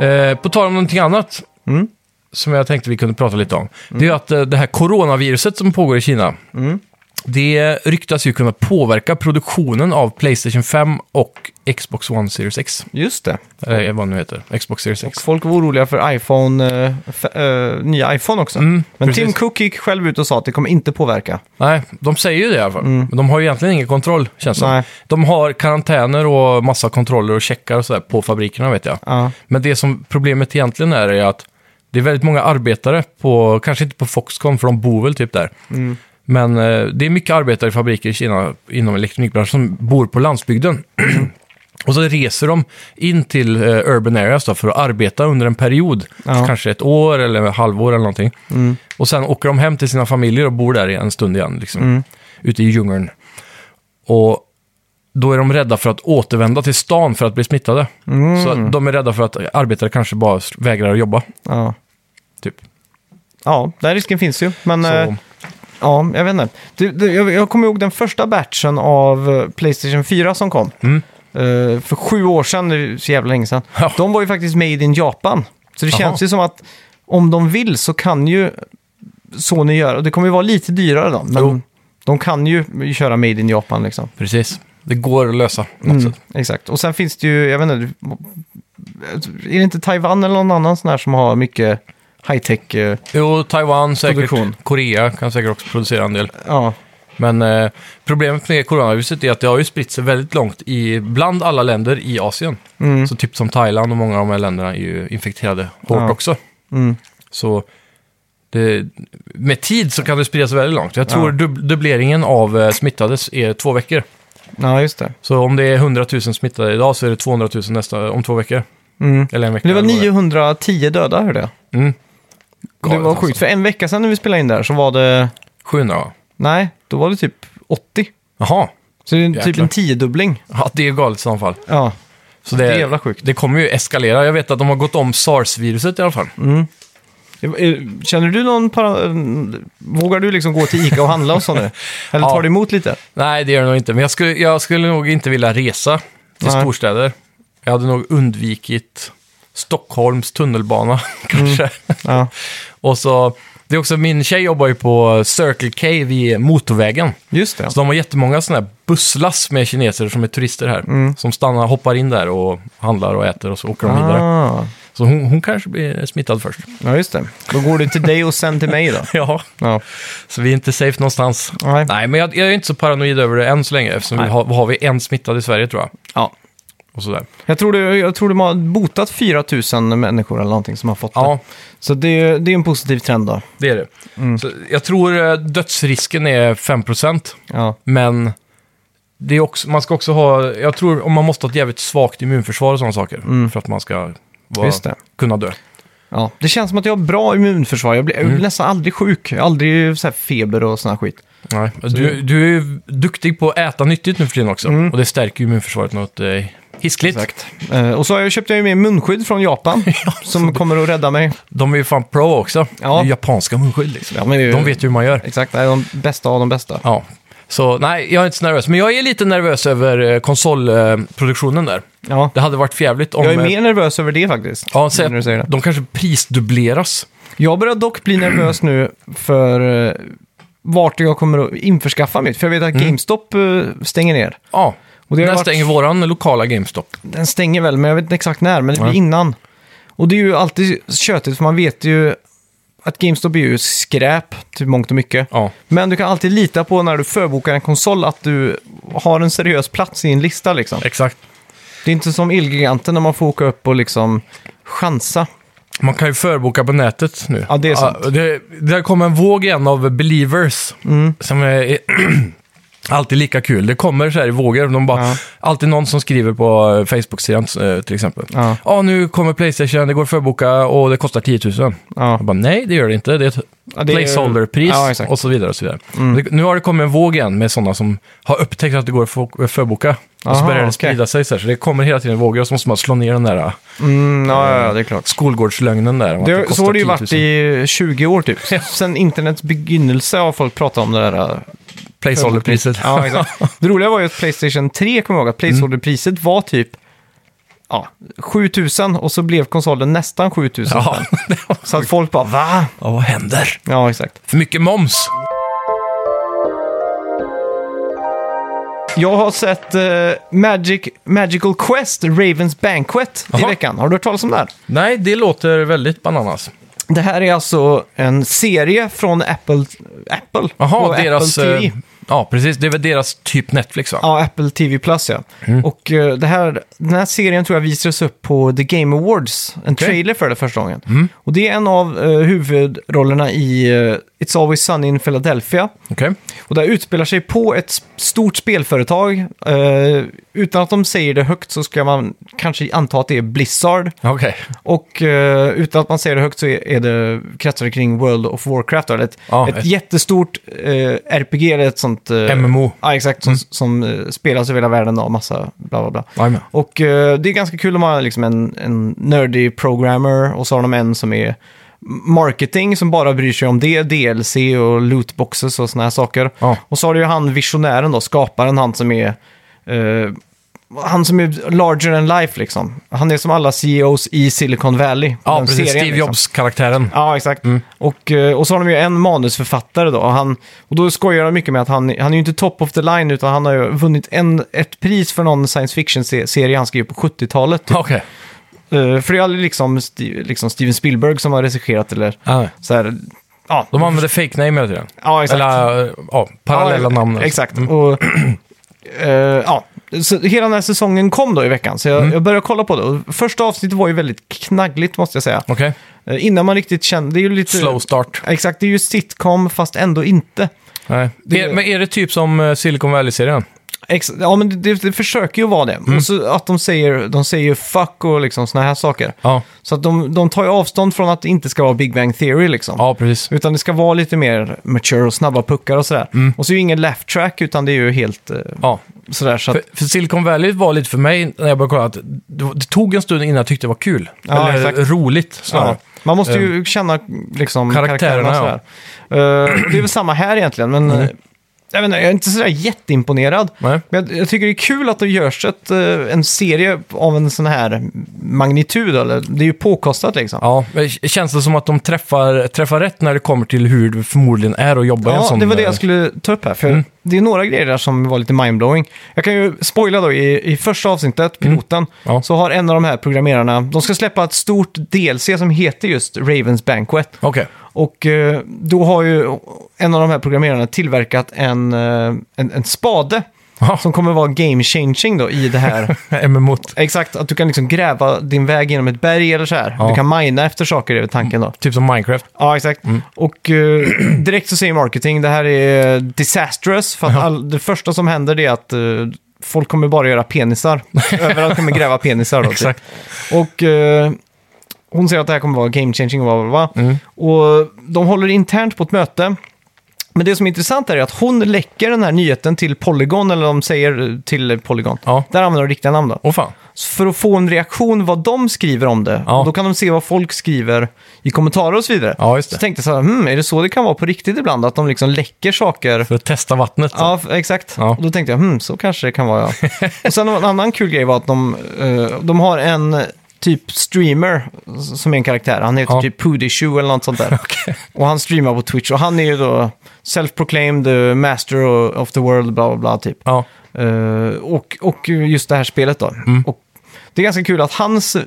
Eh, på tal om någonting annat
Mm.
som jag tänkte vi kunde prata lite om. Det är ju att eh, det här coronaviruset som pågår i Kina.
Mm.
Det ryktas ju kunna påverka produktionen av Playstation 5 och Xbox One Series X.
Just det.
Eller eh, vad det nu heter. Xbox Series
Och
X.
folk var oroliga för iPhone, eh, f- eh, nya iPhone också.
Mm,
Men
precis.
Tim Cook gick själv ut och sa att det kommer inte påverka.
Nej, de säger ju det i alla fall. Men de har ju egentligen ingen kontroll, känns det
Mm. Nej.
som. De har karantäner och massa kontroller och checkar och sådär på fabrikerna, vet jag.
Ja.
Men det som problemet egentligen är, är att det är väldigt många arbetare på, kanske inte på Foxconn, för de bor väl typ där. Men eh, det är mycket arbetare i fabriker i Kina inom elektronikbranschen som bor på landsbygden. Och så reser de in till eh, urban areas då, för att arbeta under en period,
Ja. Mm.
kanske ett år eller ett halvår eller någonting. Och sen åker de hem till sina familjer och bor där i en stund igen, liksom,
Mm.
ute i djungeln. Och då är de rädda för att återvända till stan för att bli smittade. Så
Mm.
att de är rädda för att arbetare kanske bara vägrar att jobba.
Ja.
Typ.
ja, den risken finns ju. Men eh,
Så,
ja, jag vet inte. Det, det, jag, jag kommer ihåg den första batchen av eh, Playstation 4 som kom. Eh, för sju år sedan, det är ju så jävla länge sedan.
Mm. Ja.
De var ju faktiskt made in Japan. Så det
Jaha.
känns ju som att om de vill så kan ju Sony göra, och det kommer ju vara lite dyrare då, men
Jo.
de kan ju köra made in Japan liksom.
precis. Det går att lösa på något
Mm,
sätt.
exakt. Och sen finns det ju, jag vet inte, är det inte Taiwan eller någon annan sån här som har mycket high-tech? eh,
Jo, Taiwan säkert.
Produktion.
Korea kan säkert också producera en del.
Ja,
Men eh, problemet med coronaviruset är att det har ju spritt sig väldigt långt i, bland alla länder i Asien.
Mm.
Så typ som Thailand och många av de här länderna är ju infekterade hårt
Ja.
också.
Mm.
Så det, med tid så kan det spridas väldigt långt. Jag tror
Ja.
dub- dubbleringen av eh, smittades är två veckor.
Ja, just det.
Så om det är 100 000 smittade idag så är det 200 000 nästa, om två veckor.
Mm.
Eller en vecka.
Det var
eller vad
910 döda, hörde jag.
är. Mm. alltså.
Det var sjukt. För en vecka sedan när vi spelade in där så var det...
700 va?
Nej, då var det typ 80.
Jaha.
Så det är typ
Jäklar.
en tiodubbling.
Ja, det är galet i så fall.
Ja.
Så
Det är jävla sjukt.
Det kommer ju eskalera. Jag vet att de har gått om sars-viruset i alla fall.
Eh, Känner du någon... Para... Vågar du liksom gå till Ica och handla och så nu? Eller tar
Ja.
det emot lite?
Nej, det gör det nog inte. Men jag skulle, jag skulle nog inte vilja resa till
Nej.
storstäder. Jag hade nog undvikit Stockholms tunnelbana, kanske.
Ja.
Och så, det är också, min tjej jobbar ju på Circle K vid motorvägen.
Just det.
Så de har jättemånga sådana här busslass med kineser som är turister här.
Mm.
Som stannar, hoppar in där och handlar och äter och så åker de vidare.
Ah.
Så hon, hon kanske blir smittad först.
Ja, just det. Då går det till dig och sen till mig då.
Ja.
Ja.
Så vi är inte safe någonstans.
Nej.
Nej, men jag, jag är inte så paranoid över det än så länge. Eftersom vi har, har vi en smittad i Sverige tror jag.
Ja.
Och sådär.
Jag tror, det, jag tror de har botat 4 000 människor eller någonting som har fått det.
Ja,
Så det, det är en positiv trend då.
det är det.
Mm.
Så jag tror eh, dödsrisken är 5%.
Ja,
Men det är också, man ska också ha... Jag tror om man måste ha ett jävligt svagt immunförsvar och sådana saker. För att man ska vara,
Mm. just det.
kunna dö.
Ja. Det känns som att jag har bra immunförsvar. Jag blir, jag blir
Mm.
nästan aldrig sjuk. Jag har aldrig så här feber och sån här skit.
Nej, du, du är ju duktig på att äta nyttigt nu för tiden också.
Mm.
Och det stärker ju immunförsvaret något eh, hiskligt.
Eh, och så har jag köpt jag med munskydd från Japan som kommer att rädda mig.
De är ju fan pro också.
Ja.
Det är ju japanska munskydd liksom.
Ja, men det är ju-
De vet ju hur man gör.
Exakt, det är de bästa av de bästa.
Ja. Så nej, jag är inte så nervös. Men jag är lite nervös över eh, konsolproduktionen där.
Ja.
Det hade varit förjävligt om...
Jag är
eh,
mer nervös över det faktiskt.
Ja, så
nu när du säger det.
de kanske prisdubbleras.
Jag börjar dock bli nervös nu för eh, vart jag kommer att införskaffa mitt. För jag vet att
Mm.
GameStop eh, stänger ner.
Ja.
Och det har
När
varit-
stänger våran lokala GameStop?
Den stänger väl, men jag vet inte exakt när, men det blir
Nej.
innan. Och det är ju alltid tjötigt, för man vet ju att GameStop är ju skräp till mångt och mycket.
Ja.
Men du kan alltid lita på när du förbokar en konsol att du har en seriös plats i en lista liksom.
Exakt.
Det är inte som Elgiganten när man får åka upp och liksom chansa.
Man kan ju förboka på nätet nu.
Ja, det är sant. Mm.
det, det kommer en våg igen av believers som är, är alltid lika kul. Det kommer så här i vågor. De bara,
Ja.
Alltid någon som skriver på eh, Facebook-sidan eh, till exempel.
Ja.
ah, nu kommer Playstation, det går att förboka och det kostar 10 000.
Ja.
Jag bara, nej, det gör det inte. Det är ett
Ja, det är-
placeholderpris
Ja, exakt. Mm.
och så vidare. Och så vidare. Det, nu har det kommit en våg igen med sådana som har upptäckt att det går att få- förboka. och så
Aha,
börjar det
okej.
sprida sig så här. Så det kommer hela tiden vågor och så måste man slå ner den där eh,
Mm, ja, ja, det är klart.
skolgårdslögnen där. om att
Det, så
kostar
har det ju
10 000.
varit i 20 år typ. Sen internets begynnelse har folk pratat om det där
Placeholderpriset.
Ja, exakt. Det roliga var ju att Playstation 3, kommer jag ihåg,
Mm.
att placeholderpriset var typ ja, 7000 och så blev konsolen nästan 7000.
Ja, det var-
Så att folk bara va?
Ja, vad händer?
Ja, exakt.
För mycket moms.
Jag har sett eh, Magic, Magical Quest, Ravens Banquet i
Jaha.
veckan. Har du hört talas om det här?
Nej, det låter väldigt bananas.
Det här är alltså en serie från Apple, Apple
Jaha,
och
deras...
Apple
eh,
TV.
Ja, precis. Det är väl deras typ Netflix, va?
Ja, Apple TV Plus ja. Och eh, det här, den här serien tror jag visades upp på The Game Awards, en
Okej.
trailer för det första gången. Och det är en av eh, huvudrollerna i eh, It's Always Sunny in Philadelphia.
Okej.
Och det här utspelar sig på ett s- stort spelföretag. Eh, utan att de säger det högt så ska man kanske anta att det är Blizzard.
Okej.
Och eh, utan att man säger det högt så är är det kretsar det kring World of Warcraft. Eller ett,
Ja,
ett
ett-
jättestort eh, RPG, eller ett sånt... eh,
MMO.
Ja, exakt. Som, som eh, spelas över hela världen av massa bla bla bla.
Jajamän.
Och eh, det är ganska kul om man har liksom en, en nerdy programmer och så har de en som är marketing som bara bryr sig om det, DLC och lootboxes och såna här saker.
Ja.
Och så har du ju han visionären då, skaparen, han som är... eh, han som är larger than life liksom. Han är som alla CEOs i Silicon Valley.
Ja,
Den
precis.
serien,
Steve
liksom.
Jobs-karaktären.
Ja, exakt.
Mm.
Och, eh, och så har de ju en manusförfattare då. Och, han, och då skojar de mycket med att han, han är ju inte top of the line, utan han har ju vunnit en, ett pris för någon science fiction-serie han skrev på 70-talet. Typ.
Okej. Okay.
Eh, för det är aldrig liksom, Sti- liksom Steven Spielberg som har regisserat eller så här. Ja,
De använder fake name hela tiden.
ja exakt.
Eller eh, ja, parallella
Ja,
namn.
Exakt. Och, eh, ja. Så hela den här säsongen kom då i veckan, så jag,
Mm.
jag började kolla på det. Och Första avsnittet var ju väldigt knaggligt måste jag säga.
Okej.
Eh, Innan man riktigt kände... Det är ju lite...
Slow start.
Exakt, det är ju sitcom fast ändå inte.
Nej.
Det-
Är, men är det typ som eh, Silicon Valley-serien?
Ex- ja, men det, det försöker ju vara det. Och så att de säger, de säger ju fuck och liksom såna här saker.
Ja,
Så att de, de tar ju avstånd från att det inte ska vara Big Bang Theory liksom.
ja precis.
Utan det ska vara lite mer mature och snabba puckar och sådär. Och så är ju ingen left track utan det är ju helt eh,
Ja.
sådär så att...
För, för Silicon Valley var lite för mig, när jag började kolla, att det, det tog en stund innan jag tyckte det var kul.
Ja,
Eller
exakt.
roligt snarare.
Ja. Man måste ju känna liksom, karaktärerna.
Karaktärerna,
och sådär. Eh, det är väl samma här egentligen, men eh, jag, vet inte, jag är inte sådär jätteimponerad.
Nej.
Men jag, jag tycker det är kul att det görs ett, eh, en serie av en sån här magnitud. Eller, det är ju påkostat liksom.
Ja, men k- känns det som att de träffar, träffar rätt när det kommer till hur det förmodligen är att jobba i en
Ja,
sån... eh, Mm.
det var det jag skulle ta upp här. För Det är några grejer där som var lite mindblowing. Jag kan ju spoila då, i, i första avsnittet, piloten,
Mm. Ja.
så har en av de här programmerarna, de ska släppa ett stort DLC som heter just Ravens Banquet.
Okej.
Och eh, då har ju en av de här programmerarna tillverkat en, eh, en, en spade
Ja.
som kommer vara game changing då i det här.
MMOT.
Exakt, att du kan liksom gräva din väg genom ett berg eller så här.
Ja.
Du kan mina efter saker är väl tanken då.
Typ som Minecraft.
Ja, exakt.
Mm.
Och eh, direkt så säger marketing, det här är disastrous. För att all, det första som händer det är att eh, folk kommer bara göra penisar. Överallt kommer gräva penisar då. typ.
Exakt.
Och eh, hon säger att det här kommer vara game changing och vad, vad, vad.
Mm.
Och de håller internt på ett möte. Men det som är intressant är att hon läcker den här nyheten till Polygon, eller de säger till Polygon.
Ja.
Där använder de riktiga namn då.
Åh fan.
Så För att få en reaktion vad de skriver om det.
Ja.
Och då kan de se vad folk skriver i kommentarer och så vidare.
Ja, just det.
Så tänkte jag så här, hmm, är det så det kan vara på riktigt ibland? Att de liksom läcker saker.
För att testa vattnet.
Ja, f- exakt.
Ja.
Och då tänkte jag, hmm, så kanske det kan vara ja. och sen var en annan kul grej var att de, eh, de har en eh, typ streamer s- som är en karaktär. Han heter
Ja.
typ Pudishu eller något sånt där. Och han streamar på Twitch och han är ju då self-proclaimed eh, master of the world, bla bla bla typ.
Ja.
Eh, och, och just det här spelet då.
Mm.
Och det är ganska kul att hans eh,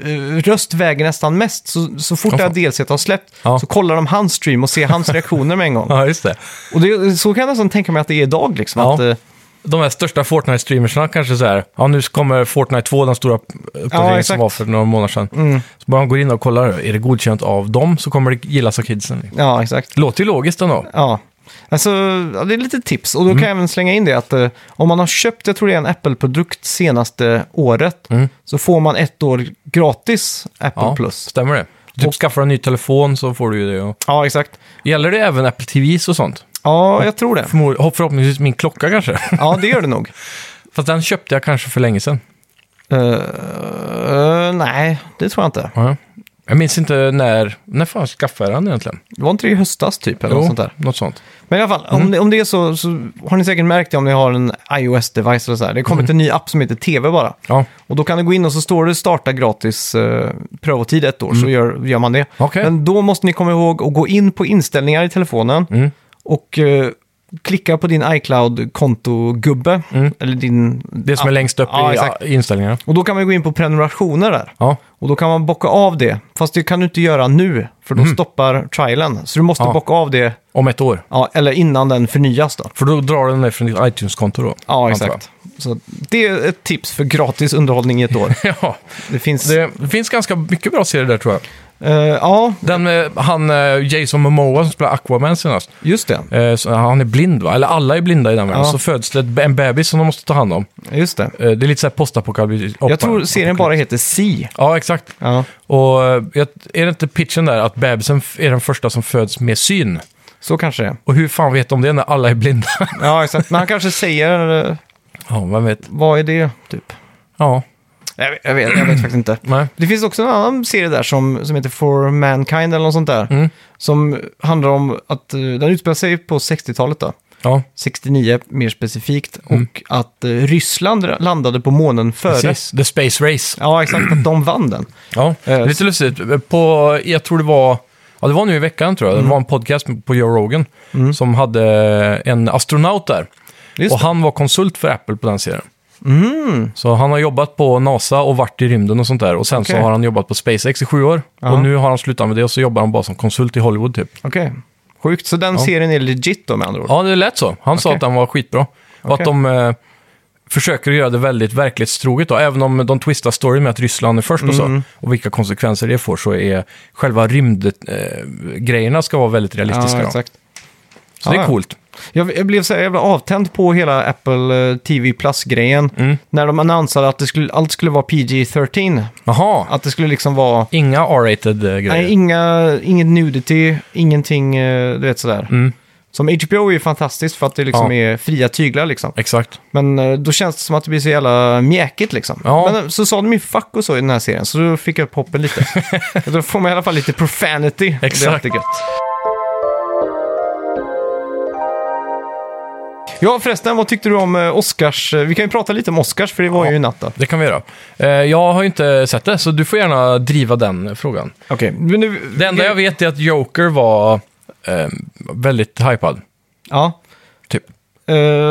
röst väger nästan mest. Så, så fort det här
fan.
delset har släppt
Ja.
så kollar de hans stream och ser hans reaktioner med en gång.
ja, just det.
Och det, så kan jag nästan tänka mig att det är idag liksom.
Ja.
Att, eh,
De här största Fortnite-streamersna kanske så här, ja nu kommer Fortnite 2, den stora uppdateringen som
exakt. Mm.
var för några månader sedan. Så bara man går in och kollar, är det godkänt av dem så kommer det gillas av kidsen.
ja, exakt.
Låter ju logiskt ändå.
Ja. Alltså, ja, det är lite tips. Och då
Mm.
kan jag även slänga in det att eh, om man har köpt, jag tror det är en Apple-produkt senaste året, så får man ett år gratis Apple
Mm. Ja,
Plus.
stämmer det. Typ skaffar en ny telefon så får du ju det. Och...
Ja, exakt.
Gäller det även Apple TVs och sånt?
Ja, jag tror det.
Förmod- hopp- Förhoppningsvis min klocka kanske.
Ja, det gör det nog.
Fast den köpte jag kanske för länge sedan.
Eh, eh, nej, det tror jag inte.
Ja. Jag minns inte när, när fan skaffade jag den egentligen?
Det var inte det i höstas typ eller något sånt där.
något sånt.
Men i alla fall,
Mm.
om, det, om det är så, så har ni säkert märkt det om ni har en iOS-device eller så här. Det har
Mm.
kommit en ny app som heter TV bara.
Ja,
Och då kan du gå in och så står det starta gratis eh, prövotid ett år, så gör, gör man det.
Mm. Okej.
Men då måste ni komma ihåg att gå in på inställningar i telefonen
Mm.
och eh, klicka på din iCloud-kontogubbe. Eller din...
Mm. det som är längst upp
Ja,
i
exakt.
i inställningarna.
Och då kan man gå in på prenumerationer där.
Ja,
Och då kan man bocka av det. Fast det kan du inte göra nu, för då stoppar trialen. Så du måste
Ja.
bocka av det,
om ett år.
ja, eller innan den förnyas då.
För då drar den det från ditt iTunes-konto då.
Ja,
antar
exakt. Så det är ett tips för gratis underhållning i ett år.
jag. Ja,
Det finns...
det, det finns ganska mycket bra serier där tror jag.
eh, ja,
Den med han eh, Jason Momoa som spelar Aquaman senast.
just det.
Eh, så Han är blind va? Eller alla är blinda i den världen.
Ja.
Så föds det ett- en bebis som de måste ta hand om.
Just det.
Eh, Det är lite så här postapokalyptiskt.
Jag tror serien bara heter Si.
Ja, exakt.
Ja.
Och eh, jag- är det inte pitchen där att bebisen f- är den första som föds med syn?
Så kanske det är.
Och hur fan vet de det när alla är blinda?
Ja, exakt. Men han kanske säger, eh,
ja, vem vet.
vad är det, typ?
Ja,
Jag, jag, vet, jag vet faktiskt inte.
nej.
Det finns också en annan serie där som, som heter For Mankind eller något sånt där.
Mm.
Som handlar om att eh, den utspelar sig på 60-talet då.
Ja,
69 mer specifikt.
Mm.
Och att eh, Ryssland landade på månen före.
precis. The Space Race.
Ja, exakt. Att de vann den.
Ja,
Eh,
lite lustigt. På, jag tror det var, ja, det var nu i veckan tror jag,
Mm.
det var en podcast på Joe Rogan som hade en astronaut där.
Just
och
det. Mm.
han var konsult för Apple på den serien. Så han har jobbat på NASA och varit i rymden och sånt där. Och sen så
Okej.
har han jobbat på SpaceX i sju år.
Ja.
Och nu har han slutat med det och så jobbar han bara som konsult i Hollywood typ.
Okej. Sjukt. Så den serien är legit då med andra ord?
Ja, det lät så. Han sa
Okej.
att den var skitbra. Och
Okej.
att de eh, försöker göra det väldigt verklighetstroget. Då. Även om de twistar storyn med att Ryssland är först och
Mm.
så, och vilka konsekvenser det får, så är själva rymdgrejerna eh, grejerna ska vara väldigt realistiska.
ja
då.
exakt.
Så Så det
Ja,
är
ja.
coolt.
Jag, jag blev så här jävla avtänd på hela Apple eh, TV Plus-grejen.
Mm.
När de annonsade att det skulle, allt skulle vara PG-13.
Jaha,
Att det skulle liksom vara...
inga R-rated eh, grejer.
Nej, inga, ingen nudity, ingenting, eh, du vet sådär. Som HBO är ju fantastiskt för att det liksom
Mm. Ja.
är fria tyglar liksom.
Exakt.
Men eh, då känns det som att det blir så jävla mjäkigt liksom.
Ja.
Men eh, så sa de ju fuck och så i den här serien, så då fick jag upp hoppen lite. då får man i alla fall lite profanity. Det är
Exakt.
alltid gött. Ja, förresten, vad tyckte du om eh, Oscars? eh, Vi kan ju prata lite om Oscars, för det var ju i natt då.
Det kan vi göra. Eh, jag har ju inte sett det, så du får gärna driva den eh, frågan.
Okej, men nu...
Det enda jag vet är att Joker var eh, väldigt hypad.
Ja.
Typ.
Eh,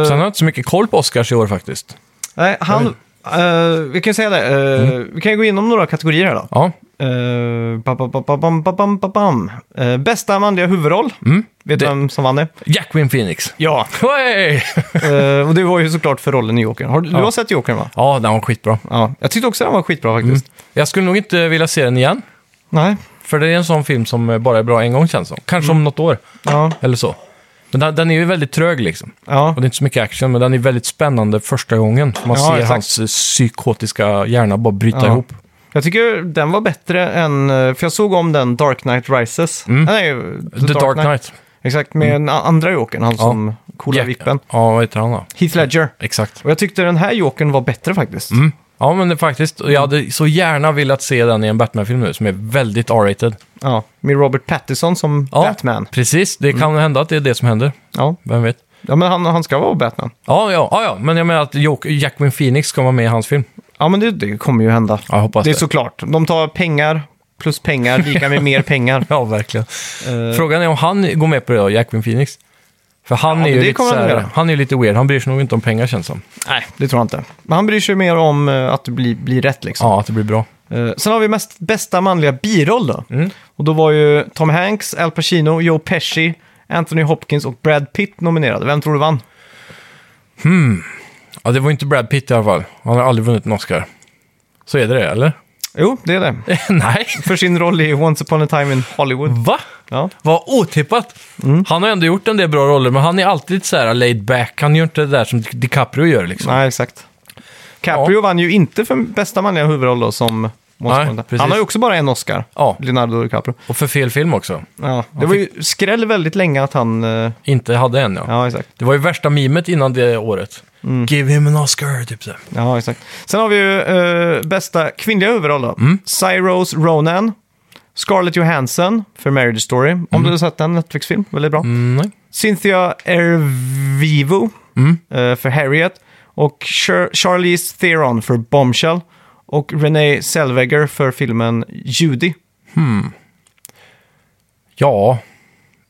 Sen har jag inte så mycket koll på Oscars i år faktiskt.
Nej, han... eh, vi kan ju säga det. eh,
Mm.
Vi kan ju gå igenom några kategorier här då.
Ja,
Eh, ba, ba, ba, ba, bam, ba, bam, ba, bam. Eh, bästa manliga huvudroll. Vet du
Mm. Det-
vem som vann det?
Jacqueline Phoenix.
Ja.
Hey!
Eh, och det var ju såklart för rollen i Jokern. Har, du- Du
Ja.
har sett Jokern va?
ja, den var skitbra.
Ja. Jag tyckte också den var skitbra faktiskt.
Jag skulle nog inte vilja se den igen.
Nej.
För det är en sån film som bara är bra en gång känns det som. Kanske
Mm.
om något år,
Ja.
eller så. Men den, den är ju väldigt trög liksom.
Ja.
Och det är inte så mycket action, men den är väldigt spännande första gången. Man
Ja,
ser
exakt.
hans eh, psykotiska hjärna bara bryta
Ja.
ihop.
Jag tycker den var bättre än... eh, För jag såg om den Dark Knight Rises. Nej, The,
Mm. The, Dark Knight. Mm.
Exakt, med den andra Jokern. Han som coola
Jack-
vippen.
Ja, vad heter han då?
Heath Ledger.
Exakt.
Och jag tyckte den här Jokern var bättre faktiskt.
Mm. Ja, men det, faktiskt. Jag hade så gärna velat se den i en Batman-film nu, som är väldigt R-rated.
Ja, med Robert Pattinson som
Ja,
Batman. Mm.
Precis, det kan hända att det är det som händer.
Ja.
Vem vet?
ja, men han, han ska vara Batman.
Ja, ja, ja, ja. men jag menar att Joker, Jackman Phoenix ska vara med i hans film.
Ja, men det, det kommer ju hända.
Ja, jag hoppas
det är
det.
såklart. De tar pengar plus pengar lika med mer pengar.
Ja, verkligen.
Eh,
Frågan är om han går med på det då, Jackman Phoenix. För han
Ja,
är ju
det
lite
kommer
så
han
här,
göra.
han är ju lite weird. Han bryr sig nog inte om pengar känns som.
nej, det tror jag inte. Men han bryr sig mer om eh, att det blir, blir rätt liksom.
Ja, Mm. att det blir bra.
Eh, sen har vi mest, bästa manliga biroll då. Och då var ju Tom Hanks, Al Pacino, Joe Pesci, Anthony Hopkins och Brad Pitt nominerade. Vem tror du vann?
Ja, det var ju inte Brad Pitt i alla fall. Han har aldrig vunnit en Oscar. Så är det det, eller?
Jo, det är det.
Nej.
För sin roll i Once upon a time in Hollywood.
Va?
Ja.
Vad otippat!
Mm.
Han har ändå gjort en del bra roller, men han är alltid lite så här laid back. Han gör inte det där som Di- DiCaprio gör liksom.
Nej, exakt. Caprio vann ju inte för bästa manliga huvudroll då, som Måns
Nej,
Brunner.
precis.
Han har ju också bara en Oscar,
Ja,
Leonardo DiCaprio.
och för fel film också.
Ja, det var ju skräll väldigt länge att han... eh,
Inte hade en, ja.
Ja, exakt.
Det var ju värsta mimet innan det året.
Mm.
Give him an Oscar, typ så. här.
Ja, exakt. Sen har vi ju eh, bästa kvinnliga huvudroll då.
Mm.
Cyrose Ronan, Scarlett Johansson för Marriage Story. Om du har sett den, Netflix-film, väldigt bra.
Mm, nej.
Cynthia Erivo eh, för Harriet. Och Char- Charlize Theron för Bombshell. Och Renee Zellweger för filmen Judy.
Ja,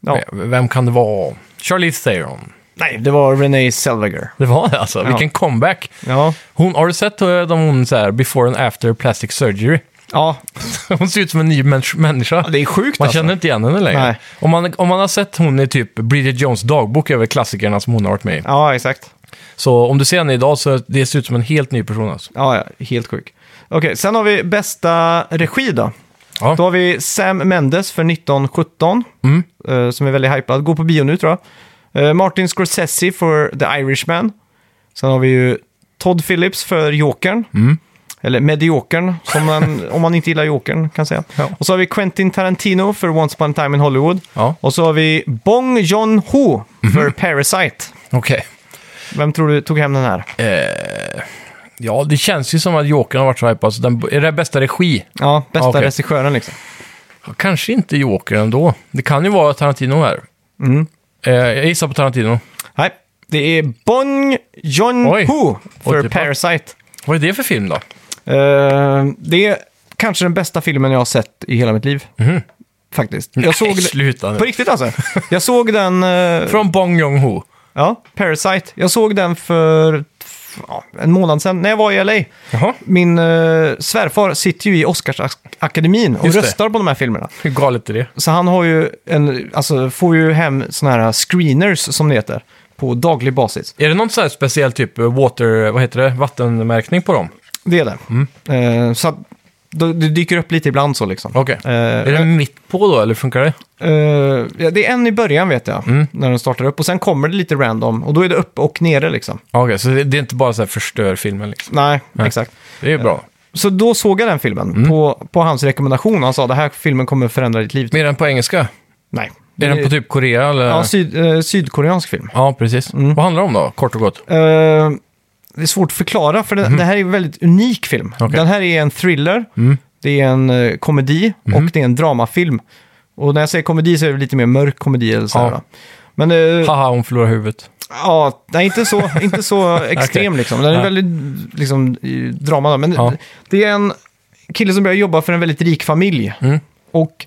Ja.
V- vem kan det vara? Charlize Theron.
Nej, det var Renee Zellweger.
Det var det alltså.
Ja.
Vilken comeback.
Ja,
Hon, har du sett eh, de hon så här, before and after plastic surgery?
ja
Hon ser ut som en ny människa. människa.
det är sjukt
Man
alltså.
känner inte igen henne längre.
Nej.
Om man, om man har sett hon i typ Bridget Jones dagbok över klassikerna som hon har varit med i.
Ja, exakt.
Så om du ser henne idag så det ser ut som en helt ny person alltså.
Ja, ja helt sjuk. Okej, sen har vi bästa regi då.
Ja. Mm.
Då har vi Sam Mendes för 1917, eh, som är väldigt hypad. Gå på bio nu tror jag. Eh, Martin Scorsese för The Irishman. Sen har vi ju Todd Phillips för Jokern.
Mm.
Eller Mediokern, som man, om man inte gillar Jokern kan säga.
Ja.
Och så har vi Quentin Tarantino för Once upon a time in Hollywood.
Ja, Mhm.
Och så har vi Bong Joon-ho för Parasite.
okej.
Vem tror du tog hem den här?
Eh, ja, det känns ju som att Jokern har varit så hypad. så den- Är det bästa regi?
Ja, bästa
Ja, okej.
regissören liksom.
Ja, Kanske inte Jokern ändå. Det kan ju vara Tarantino här.
Mm.
Eh, jag gissar på Tarantino.
Nej, det är Bong
Oj. typ,
Joon-ho för
Otippat.
Parasite.
Vad är det för film då?
Eh, det är kanske den bästa filmen jag har sett i hela mitt liv. Faktiskt. Jag såg den...
Mhm. Sluta nu.
På riktigt alltså. Jag såg den... eh,
Från Bong Joon-Ho.
ja, Parasite. Jag såg den för ja, en månad sedan när jag var i LA.
Jaha,
Min eh, svärfar sitter ju i Oscarsakademin och
Just det.
röstar på de här filmerna.
hur galet är det?
Så han har ju en, alltså, får ju hem sådana här screeners, som det heter, på daglig basis.
Är det någon sån här speciell typ eh, water, vad heter det, vattenmärkning på dem?
Det är det. Eh, så att då- det dyker upp lite ibland så liksom.
Okej.
Eh,
Är det mitt på då, eller funkar det? Mm.
eh, ja, det är en i början vet jag, när den startar upp. Och sen kommer det lite random och då är det upp och nere liksom.
Ja, Okej, så det det är inte bara så här förstör filmen liksom.
Nej, exakt.
Det är ju bra.
Så då såg jag den filmen
Mm.
på, på hans rekommendation. Han sa det här filmen kommer förändra ditt liv.
Mer än på engelska?
Nej.
Är den på typ Korea eller?
Ja, Mm. syd, eh, sydkoreansk film.
Ja, precis. Vad handlar det om då, kort och gott?
Eh, det är svårt att förklara, för det, det här är en väldigt unik film.
Mhm. Okej. Mm.
Den här är en thriller, det är en eh, komedi
Mhm.
och det är en dramafilm. Och när jag säger komedi så är det lite mer mörk komedi eller så här,
Ja.
va? Men eh,
Haha, hon förlorar huvudet.
ja, nej, inte så, inte så extrem liksom. Den är
Ja.
väldigt liksom, i drama. då. Men
Ja.
det är en kille som börjar jobba för en väldigt rik familj.
Mm.
Och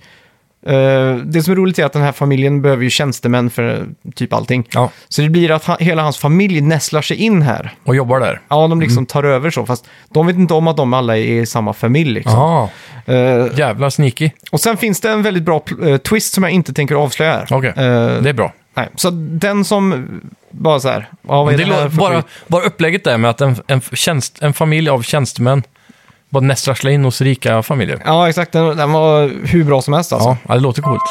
eh, det som är roligt är att den här familjen behöver ju tjänstemän för eh, typ allting.
Ja,
Så det blir att ha, hela hans familj nästlar sig in här.
och jobbar där.
Ja, de
Mm.
liksom tar över så, fast de vet inte om att de alla är i samma familj. Liksom.
Jaha,
Eh,
jävla sneaky.
och sen finns det en väldigt bra pl- eh, twist som jag inte tänker avslöja här.
Okej.
Eh,
Det är bra.
nej. Så den som bara så här, ja, vad
Men
är
det
det, här
låter,
för
bara,
skit?
bara upplägget där med att en, en, tjänst, en familj av tjänstemän bara nästlar sig in hos rika familjer.
Ja, exakt. Den, den var hur bra som helst alltså.
Ja, ja, det låter coolt.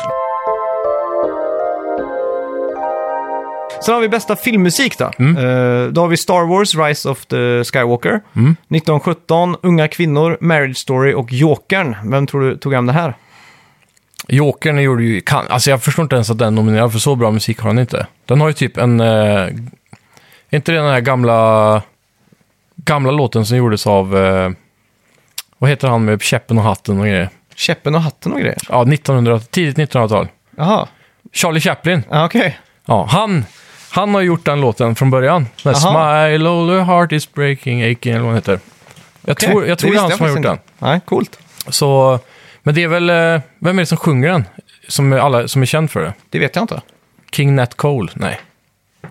Sen har vi bästa filmmusik då.
Mm.
Eh, då har vi Star Wars, Rise of the Skywalker,
Mm.
1917, Unga kvinnor, Marriage Story och Jokern. Vem tror du tog hem det här?
Jokern gjorde ju... Kan, alltså jag förstår inte ens att den nominerade, för så bra musik har den inte. Den har ju typ en... eh, Är inte det den här gamla... Gamla låten som gjordes av... eh, vad heter han med käppen och hatten och grejer?
Käppen och hatten och grejer.
Ja, 1900, tidigt 1900-tal.
Jaha,
Charlie Chaplin.
ja, okej.
Ja, han, han har gjort den låten från början. Den här
Jaha.
Smile all your heart is breaking, aching eller vad den heter. Jag
Okej,
tror, jag tror det
visste
är han som har gjort
faktiskt
den.
inte. Nej, coolt.
Så, men det är väl, eh, vem är det som sjunger den? Som är, alla, som är känd för det?
Det vet jag inte.
King Nat Cole? Nej.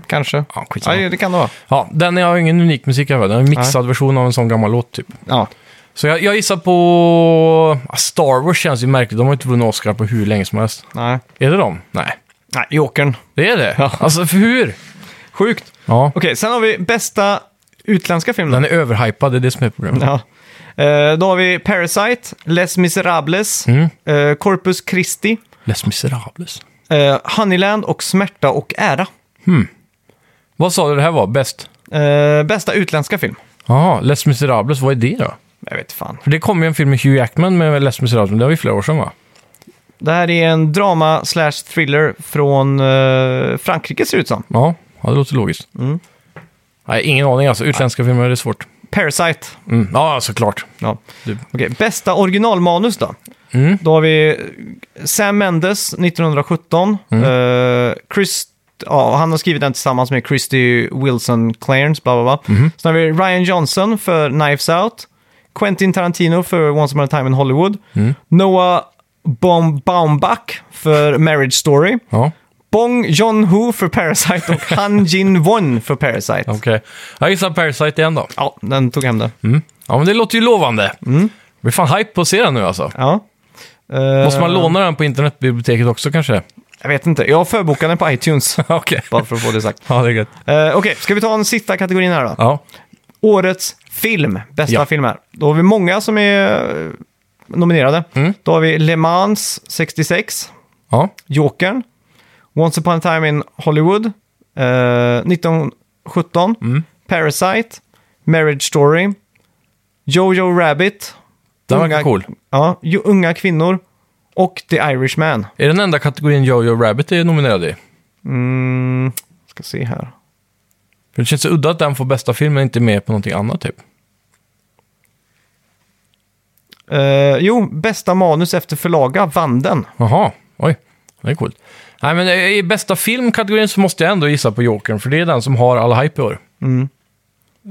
Kanske.
Ja, skitsamma.
Ja, det kan det vara.
Ja, den har ingen unik musik över. Den är en mixad version av en sån gammal låt typ.
Ja.
Så jag, jag gissar på... ah, Star Wars känns ju märkligt. De har ju inte vunnit Oscar på hur länge som helst.
Nej.
Är det dem? Nej.
Nej, Jokern.
Det är det? Alltså, för hur?
Sjukt.
Ja.
Okej, sen har vi bästa utländska film. då.
Den är överhypad, det är det som är problemet.
Ja. Eh, då har vi Parasite, Les Miserables,
Mm.
eh, Corpus Christi,
Les Miserables.
eh, Honeyland och Smärta och ära.
Vad sa du det här var? Bäst?
Eh, bästa utländska film.
Jaha, Les Miserables, vad är det då?
Jag vet fan.
För det kom ju en film med Hugh Jackman med Les Miserables, men det var ju flera år sedan va?
Det här är en drama slash thriller från eh, Frankrike ser det ut som.
Ja, ja det låter logiskt. Nej, ingen aning alltså. Utländska filmer är det svårt.
Parasite.
Mm. Ja, såklart.
Ja.
Du-
Okej, bästa originalmanus då?
Mm.
Då har vi Sam Mendes 1917.
Mm.
eh, Chris, ja, han har skrivit den tillsammans med Christy Wilson Clarence. Bla, bla, bla.
Mm-hmm.
Sen har vi Ryan Johnson för Knives Out. Quentin Tarantino för Once upon a time in Hollywood.
Mm.
Noah Baum- Baumbach för Marriage Story.
Ja,
Bong Joon-ho för Parasite och Han Jin-won för Parasite.
okej. Jag gissar Parasite igen då.
Ja, den tog hem det.
Mm. Ja, men det låter ju lovande. Mm. blir fan hype på att se den nu alltså.
Ja.
Måste man
Eh,
låna den på internetbiblioteket också kanske?
Jag vet inte. Jag förbokade den på iTunes.
okej.
Bara för att få det sagt.
Ja, det är gött.
Eh, Okej, ska vi ta den sista kategorin här då?
Ja.
Årets film, bästa
Ja.
film här. Då har vi många som är eh, nominerade.
Mm.
Då har vi Le Mans 66,
ja.
Jokern, Once upon a time in Hollywood, eh, 1917,
Mm.
Parasite, Marriage Story, Jojo Rabbit,
Den verkar cool.
ja, ju- Unga kvinnor och The Irishman.
Är den enda kategorin Jojo Rabbit är nominerad i?
Mm, ska se här.
För det känns så udda att den får bästa film men inte är med på någonting annat typ.
Eh, jo, bästa manus efter förlaga vann den.
Jaha, oj. Det är coolt. Nej, men eh, i bästa filmkategorin så måste jag ändå gissa på Jokern, för det är den som har all hype i år.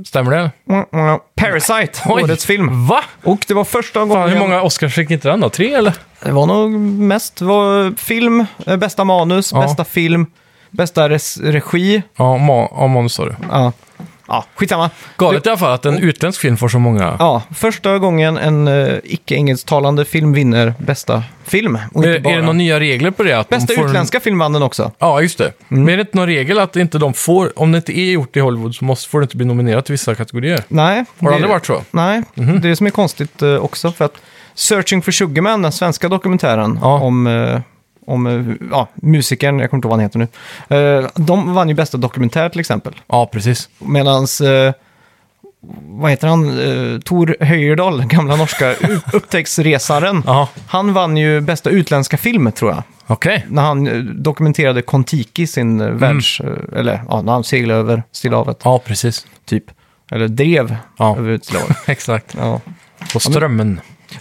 Stämmer det?
Mm, mm, Parasite, årets film.
Va?
Och det var första gången...
Fan, hur många Oscars fick inte den då? Tre eller?
Det var nog mest var film, eh, bästa manus,
Ja.
bästa film, bästa res- regi.
Ja, ma- ja manus sa du.
Ja. Ja, skitsamma.
Galet i alla fall att en utländsk film får så många.
Ja, första gången en eh, icke-engelsktalande film vinner bästa film. Och
är,
inte bara.
är det några nya regler på det? Att de
Bästa
får en-
utländska Mm. film vann den också.
Ja, just det. Men är det inte någon regel att inte de får, om det inte är gjort i Hollywood så måste, får det inte bli nominerat till vissa kategorier?
Nej.
Har det aldrig varit så? Mhm.
Nej, det är det som är konstigt eh, också. För att Searching for Sugarman, den svenska dokumentären
Ja.
om, eh, om eh, ja, musikern, jag kommer inte ihåg vad han heter nu. Eh, de vann ju bästa dokumentär till exempel.
Ja, precis.
Medan, eh, vad heter han, eh, Tor Höjerdahl, den gamla norska u- upptäcktsresaren.
Ja,
Han vann ju bästa utländska film tror jag.
okej.
När han eh, dokumenterade Kontiki, sin mm. världs... eh, Eller ja, när han seglade över Stilla havet,
Ja, precis.
typ. Eller drev
Ja.
över Stilla havet.
Exakt.
Ja.
På strömmen.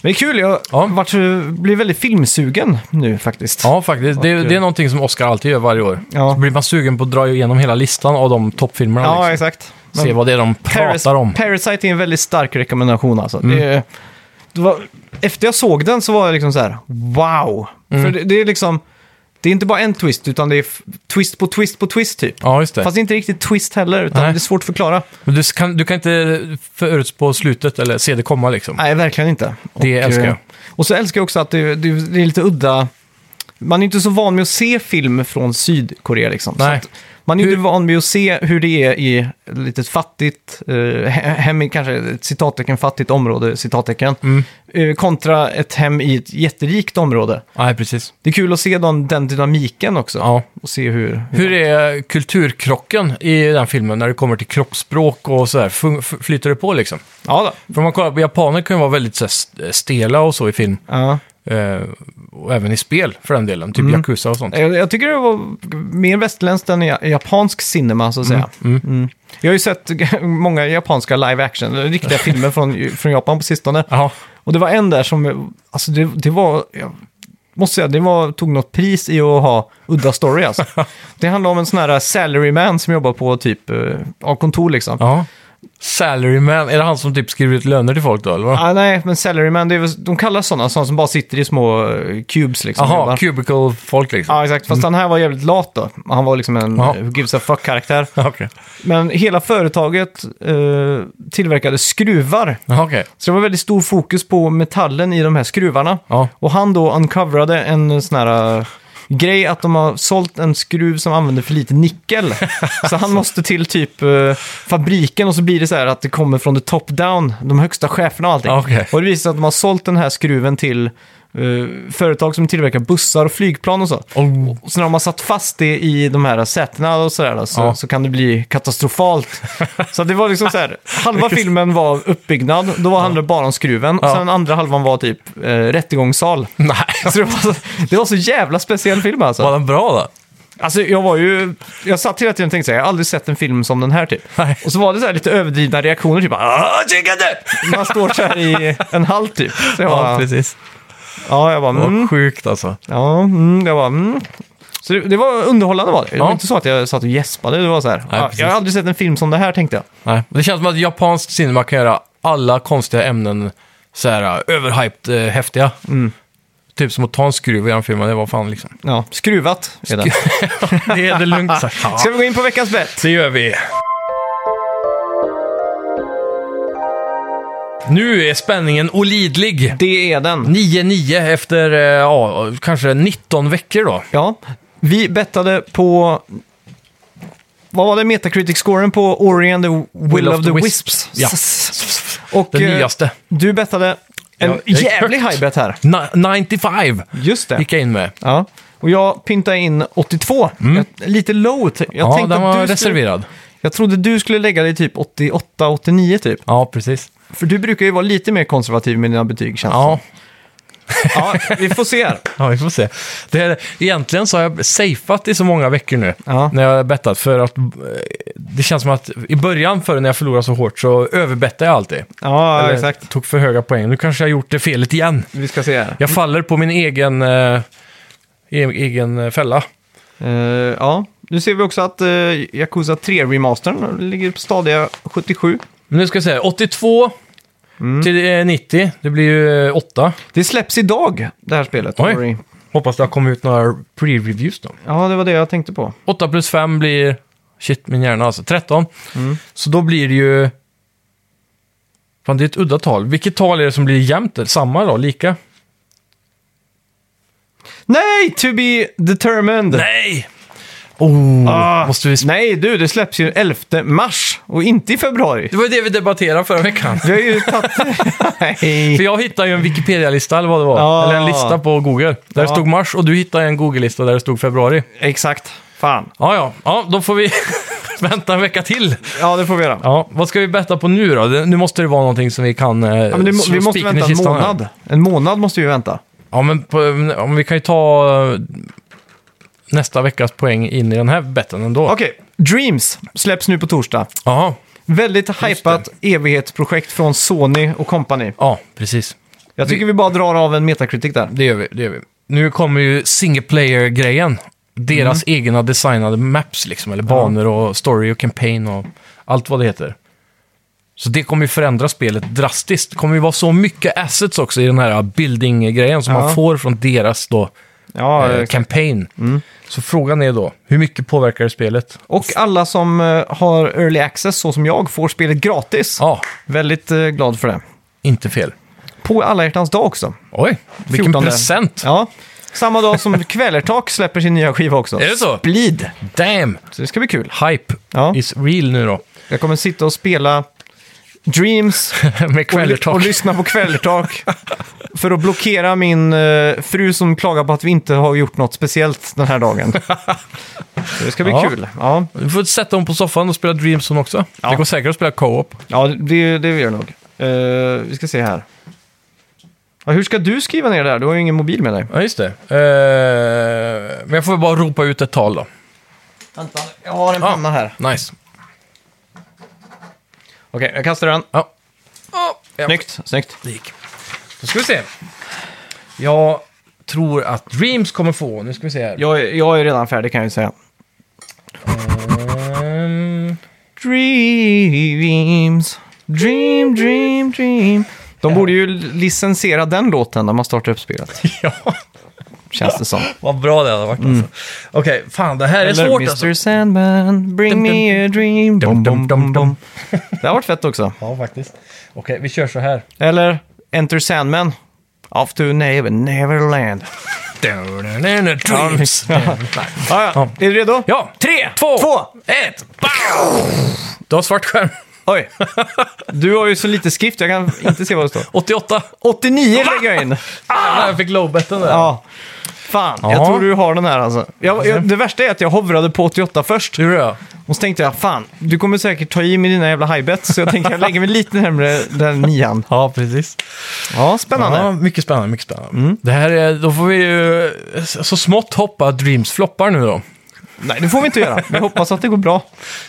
Men det är kul, jag
Ja.
har varit, eh, blir väldigt filmsugen nu faktiskt.
Ja, faktiskt. Det, det är någonting som Oscar alltid gör varje år.
eh, Ja.
Så blir man sugen på att dra igenom hela listan av de toppfilmerna.
Ja,
liksom.
exakt.
Se
Men
vad det är de
Paras-
pratar om. Mm.
Parasite är en väldigt stark rekommendation alltså. Det, är- det var, efter jag såg den så var jag liksom så här, wow!
Mm.
För det, det är liksom, det är inte bara en twist, utan det är f- twist på twist på twist typ.
Ja, just det.
Fast det är inte riktigt twist heller, utan
Nej.
det är svårt att förklara.
Men Du kan, du kan inte förutspå slutet eller se det komma liksom.
Nej, verkligen inte.
Det
Och,
älskar jag.
eh, Och så älskar jag också att det, det, det är lite udda. Man är inte så van med att se film från Sydkorea liksom. Så
Nej.
att man är
Hur-
inte van med att se hur det är i ett litet fattigt, eh, he- hem i kanske ett citattecken fattigt område, citattecken, eh, kontra ett hem i ett jätterikt område.
Nej, precis.
Det är kul att se den, den dynamiken också.
Ja.
Och se hur...
Hur är kulturkrocken i den filmen när det kommer till kroppsspråk och sådär? Fun- f- Flyter det på liksom?
Ja, då.
För om man kollar på japaner kan ju vara väldigt så här, st- stela och så i film.
Ja.
Eh, och även i spel för den delen, typ
Mm.
Yakuza och sånt.
Jag, jag tycker det var mer västerländskt än ja- japansk cinema, så att säga. Mm. Jag har ju sett g- många japanska live action, eller riktiga filmer från, från Japan på sistone.
Jaha,
Och det var en där som, alltså det, det var, jag måste säga, det var, tog något pris i att ha udda story alltså. Det handlar om en sån här salaryman som jobbar på typ, eh, ja, kontor liksom.
ja. Salaryman, är det han som typ skriver ut löner till folk då, eller vad?
Ah, nej, men salaryman, det är, väl- de kallas sådana, sådana som bara sitter i små eh, cubes liksom.
Jaha,
jobbar.
cubicle-folk liksom.
Ja, exakt. Fast han här var jävligt lat då. Han var liksom en
Ja.
eh, gives a fuck-karaktär.
Ja, okej.
Men hela företaget eh, tillverkade skruvar.
Ja, okej.
Så det var väldigt stor fokus på metallen i de här skruvarna.
Ja.
Och han då uncoverade en sån här eh, grej att de har sålt en skruv som använder för lite nickel. så han måste till typ eh, fabriken och så blir det så här att det kommer från the top down, de högsta cheferna och allting.
Ja, okej.
Och det visar sig att de har sålt den här skruven till eh, företag som tillverkar bussar och flygplan och så.
Oh.
Och sen har man satt fast det i de här sätena och sådär, då, så,
Ja.
så kan det bli katastrofalt. så det var liksom så här, halva filmen var uppbyggnad, då var handlade det bara om skruven.
Ja.
Och sen andra halvan var typ eh, rättegångssal.
Nej,
Så det, var så, det var så jävla speciell film alltså.
var den bra då?
Alltså jag var ju, jag satt hela tiden och tänkte så här, jag har aldrig sett en film som den här typ.
Nej.
Och så var det så här lite överdrivna reaktioner, typ "Ah, chicken!" Man står så här i en hall typ. Så jag
Ja,
bara,
precis.
ja, jag bara,
Vad
mm,
sjukt alltså.
Ja, mm, jag bara, mm. Så det, det var underhållande var det. Det var
Ja.
inte så att jag satt och gäspade. Det var så här,
Nej,
"Ah,
precis.
jag har aldrig sett en film som det här tänkte jag.
Nej. Det känns som att japanskt cinema kan göra alla konstiga ämnen så här eh, överhyped eh, häftiga. Typ som att ta en skruv i en film, det var fan liksom.
Ja, skruvat är det.
Det är det lugnt sagt.
Ska vi gå in på veckans bett?
Det gör vi. Nu är spänningen olidlig.
Det är den.
9-9 efter eh, ja, kanske 19 veckor då.
Ja, vi bettade på... Vad var det Metacritic-scoren på Ori and the Will, of, the Wisps?
Ja.
S- Och
Den
eh,
nyaste.
du bettade en
Ja, jag gick
jävlig
högt.
high bet här.
Na- 95
Just det.
gick jag in med.
Ja. Och jag pyntade in 82. Jag, lite low. t- Jag
Mm. ja,
tänkte
den
att
var
du skulle-
reserverad.
Jag trodde du skulle lägga dig typ 88-89 typ.
Ja, precis.
För du brukar ju vara lite mer konservativ med dina betyg känns det
Ja,
som. ja, vi får se här.
Ja, vi får se. Det här, egentligen så har jag safeat i så många veckor nu
Ja.
när jag har bettat. För att eh, det känns som att i början, förr när jag förlorade så hårt, så överbettade jag alltid.
Ja,
Eller
exakt.
Tog för höga poäng. Nu kanske jag har gjort det felet igen.
Vi ska se här.
Jag faller på min egen, eh, e- egen eh, fälla.
Eh, ja, nu ser vi också att uh, Yakuza 3-remastern ligger på stadiga 77.
Men nu ska jag säga 82 till eh, 90. Det blir ju eh, 8.
Det släpps idag, det här spelet.
Oj.
Ori.
Hoppas det har kommit ut några pre-reviews då.
Ja, det var det jag tänkte på.
8 plus 5 blir Shit, min hjärna alltså. 13. Så då blir det ju... Fan, det är ett udda tal. Vilket tal är det som blir jämnt? Samma då? Lika?
Nej, to be determined.
Nej! Oh,
Ah,
måste vi... sp-
Nej, du, det släpps ju 11 mars och inte i februari.
Det var ju det vi debatterade förra veckan.
Vi har ju tagit... Nej.
För jag hittade ju en Wikipedia-lista eller vad det var.
Ja.
Eller en lista på Google. Där det stod mars och du hittade en Google-lista där det stod februari.
Exakt. Fan.
Ja, ja. ja då får vi vänta en vecka till.
Ja, det får vi göra.
Ja, vad ska vi betta på nu då? Det- Nu måste det vara någonting som vi kan... Eh,
Ja, men det, må-
slå
vi måste
spiken i
vänta en
kistan här.
månad. En månad måste vi vänta.
Ja, men på, om vi kan ju ta eh, nästa veckas poäng in i den här betten ändå.
Okej, Dreams släpps nu på torsdag.
Jaha.
Väldigt hypat evighetsprojekt från Sony och company.
Ja, precis.
Jag tycker vi bara drar av en metakritik där.
Det gör vi. Det gör vi. Nu kommer ju single player-grejen. Deras
Mm.
egna designade maps, liksom, eller banor och story och campaign och allt vad det heter. Så det kommer ju förändra spelet drastiskt. Det kommer ju vara så mycket assets också i den här building-grejen som
Ja.
man får från deras då,
Ja,
eh,
eh,
campaign. Så frågan är då, hur mycket påverkar det spelet?
och alla som eh, har early access, så som jag, får spelet gratis.
Ja,
Väldigt eh, glad för det.
inte fel.
På alla hjärtans dag också.
Oj, vilken
14.
present!
Ja. Samma dag som Kvällertak släpper sin nya skiva också.
Är det så?
Bleed.
Damn!
Så det ska bli kul.
Hype
Ja.
is real nu då.
Jag kommer sitta och spela Dreams
Med
och, ly- och
kvällertak.
lyssna på Kvällertak för att blockera min eh, fru som klagar på att vi inte har gjort något speciellt den här dagen. Så det ska bli
Ja.
kul. Ja,
Du får sätta hon på soffan och spela Dreams hon också. Det går säkert att spela co-op.
ja det, det gör det nog. Eh, vi ska se här. Ja, hur ska du skriva ner det här? Du har ju ingen mobil med dig.
Ja, just det. Eh, men jag får väl bara ropa ut ett tal då.
Vänta, jag har en
Ja.
panna här.
Nice.
Okej, jag kastar den.
Ja. Oh, ja.
Snyggt, snyggt.
Det gick. Då ska vi se. Jag tror att Dreams kommer få... Nu ska vi se här.
Jag, är- jag är redan färdig kan jag ju säga.
Ehm,
Dreams, dream, dream, dream. De borde ju licensiera den låten när man startar upp spelet,
ja,
känns det som.
vad bra det hade varit alltså. Okej, fan det här är
Eller
svårt
Mr
alltså.
Sandman, bring
Dum,
me a dream.
Dum,
Bom,
dum,
bom,
dum,
bom,
dum.
bom. Det har varit fett också.
Ja, faktiskt. Okej, vi kör så här.
Eller Enter Sandman. Off to never, Neverland.
Dreams.
Ah, ja. Är du redo?
Ja, tre, två,
Två.
ett. Du har svart skärm.
Oj. Du har ju så lite skrift, jag kan inte se vad det står.
88.
89 lägger jag in.
Ah! Jag fick lowbetten där.
Ja. Fan,
Ja.
jag tror du har den här alltså. Jag, jag, det värsta är att jag hovrade på 88 först.
Hur är det?
Och så tänkte jag, fan, du kommer säkert ta i med dina jävla highbets. Så jag tänker jag lägger mig lite närmre den nian.
Ja, precis.
Ja, spännande.
Ja, mycket spännande, mycket spännande. Det här är, då får vi ju eh, så smått hoppa att Dreams floppar nu då.
Nej, det får vi inte göra. Vi hoppas att det går bra.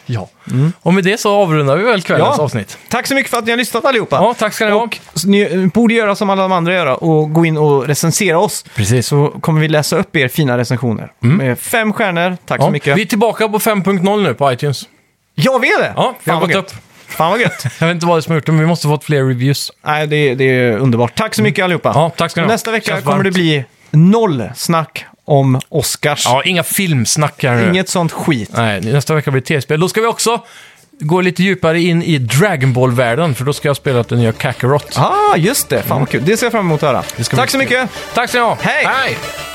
Ja. Mm. Och med det så avrundar vi väl kvällens
Ja.
avsnitt.
Tack så mycket för att ni har lyssnat allihopa.
Ja, tack ska ni ha.
Och så ni eh, borde göra som alla de andra gör och gå in och recensera oss.
Precis. Mm.
Så kommer vi läsa upp er fina recensioner. Med fem stjärnor, tack så
Ja.
mycket.
Vi är tillbaka på 5.0 nu på iTunes.
Ja, vi är det!
Ja, vi har
fan vad
gått
gött.
upp.
Fan vad gött.
Jag vet inte vad det är som har gjort det, men vi måste ha fått fler reviews.
Nej, det, det är underbart. Tack så mycket allihopa.
Ja, tack ska ni ha.
Nästa vecka
Känns
kommer
varmt.
det bli noll snack om Oscars.
Ja, inga filmsnack här nu.
Inget sånt skit.
Nej, nästa vecka blir det tv-spel. Då ska vi också gå lite djupare in i Dragon Ball-världen, för då ska jag spela den nya Kakarot.
Ah, just det. Fan vad kul. Det ser jag fram emot att höra.
Det ska
Tack
bli
så
kul.
mycket.
Tack ska ni ha!
Hej!
Hej!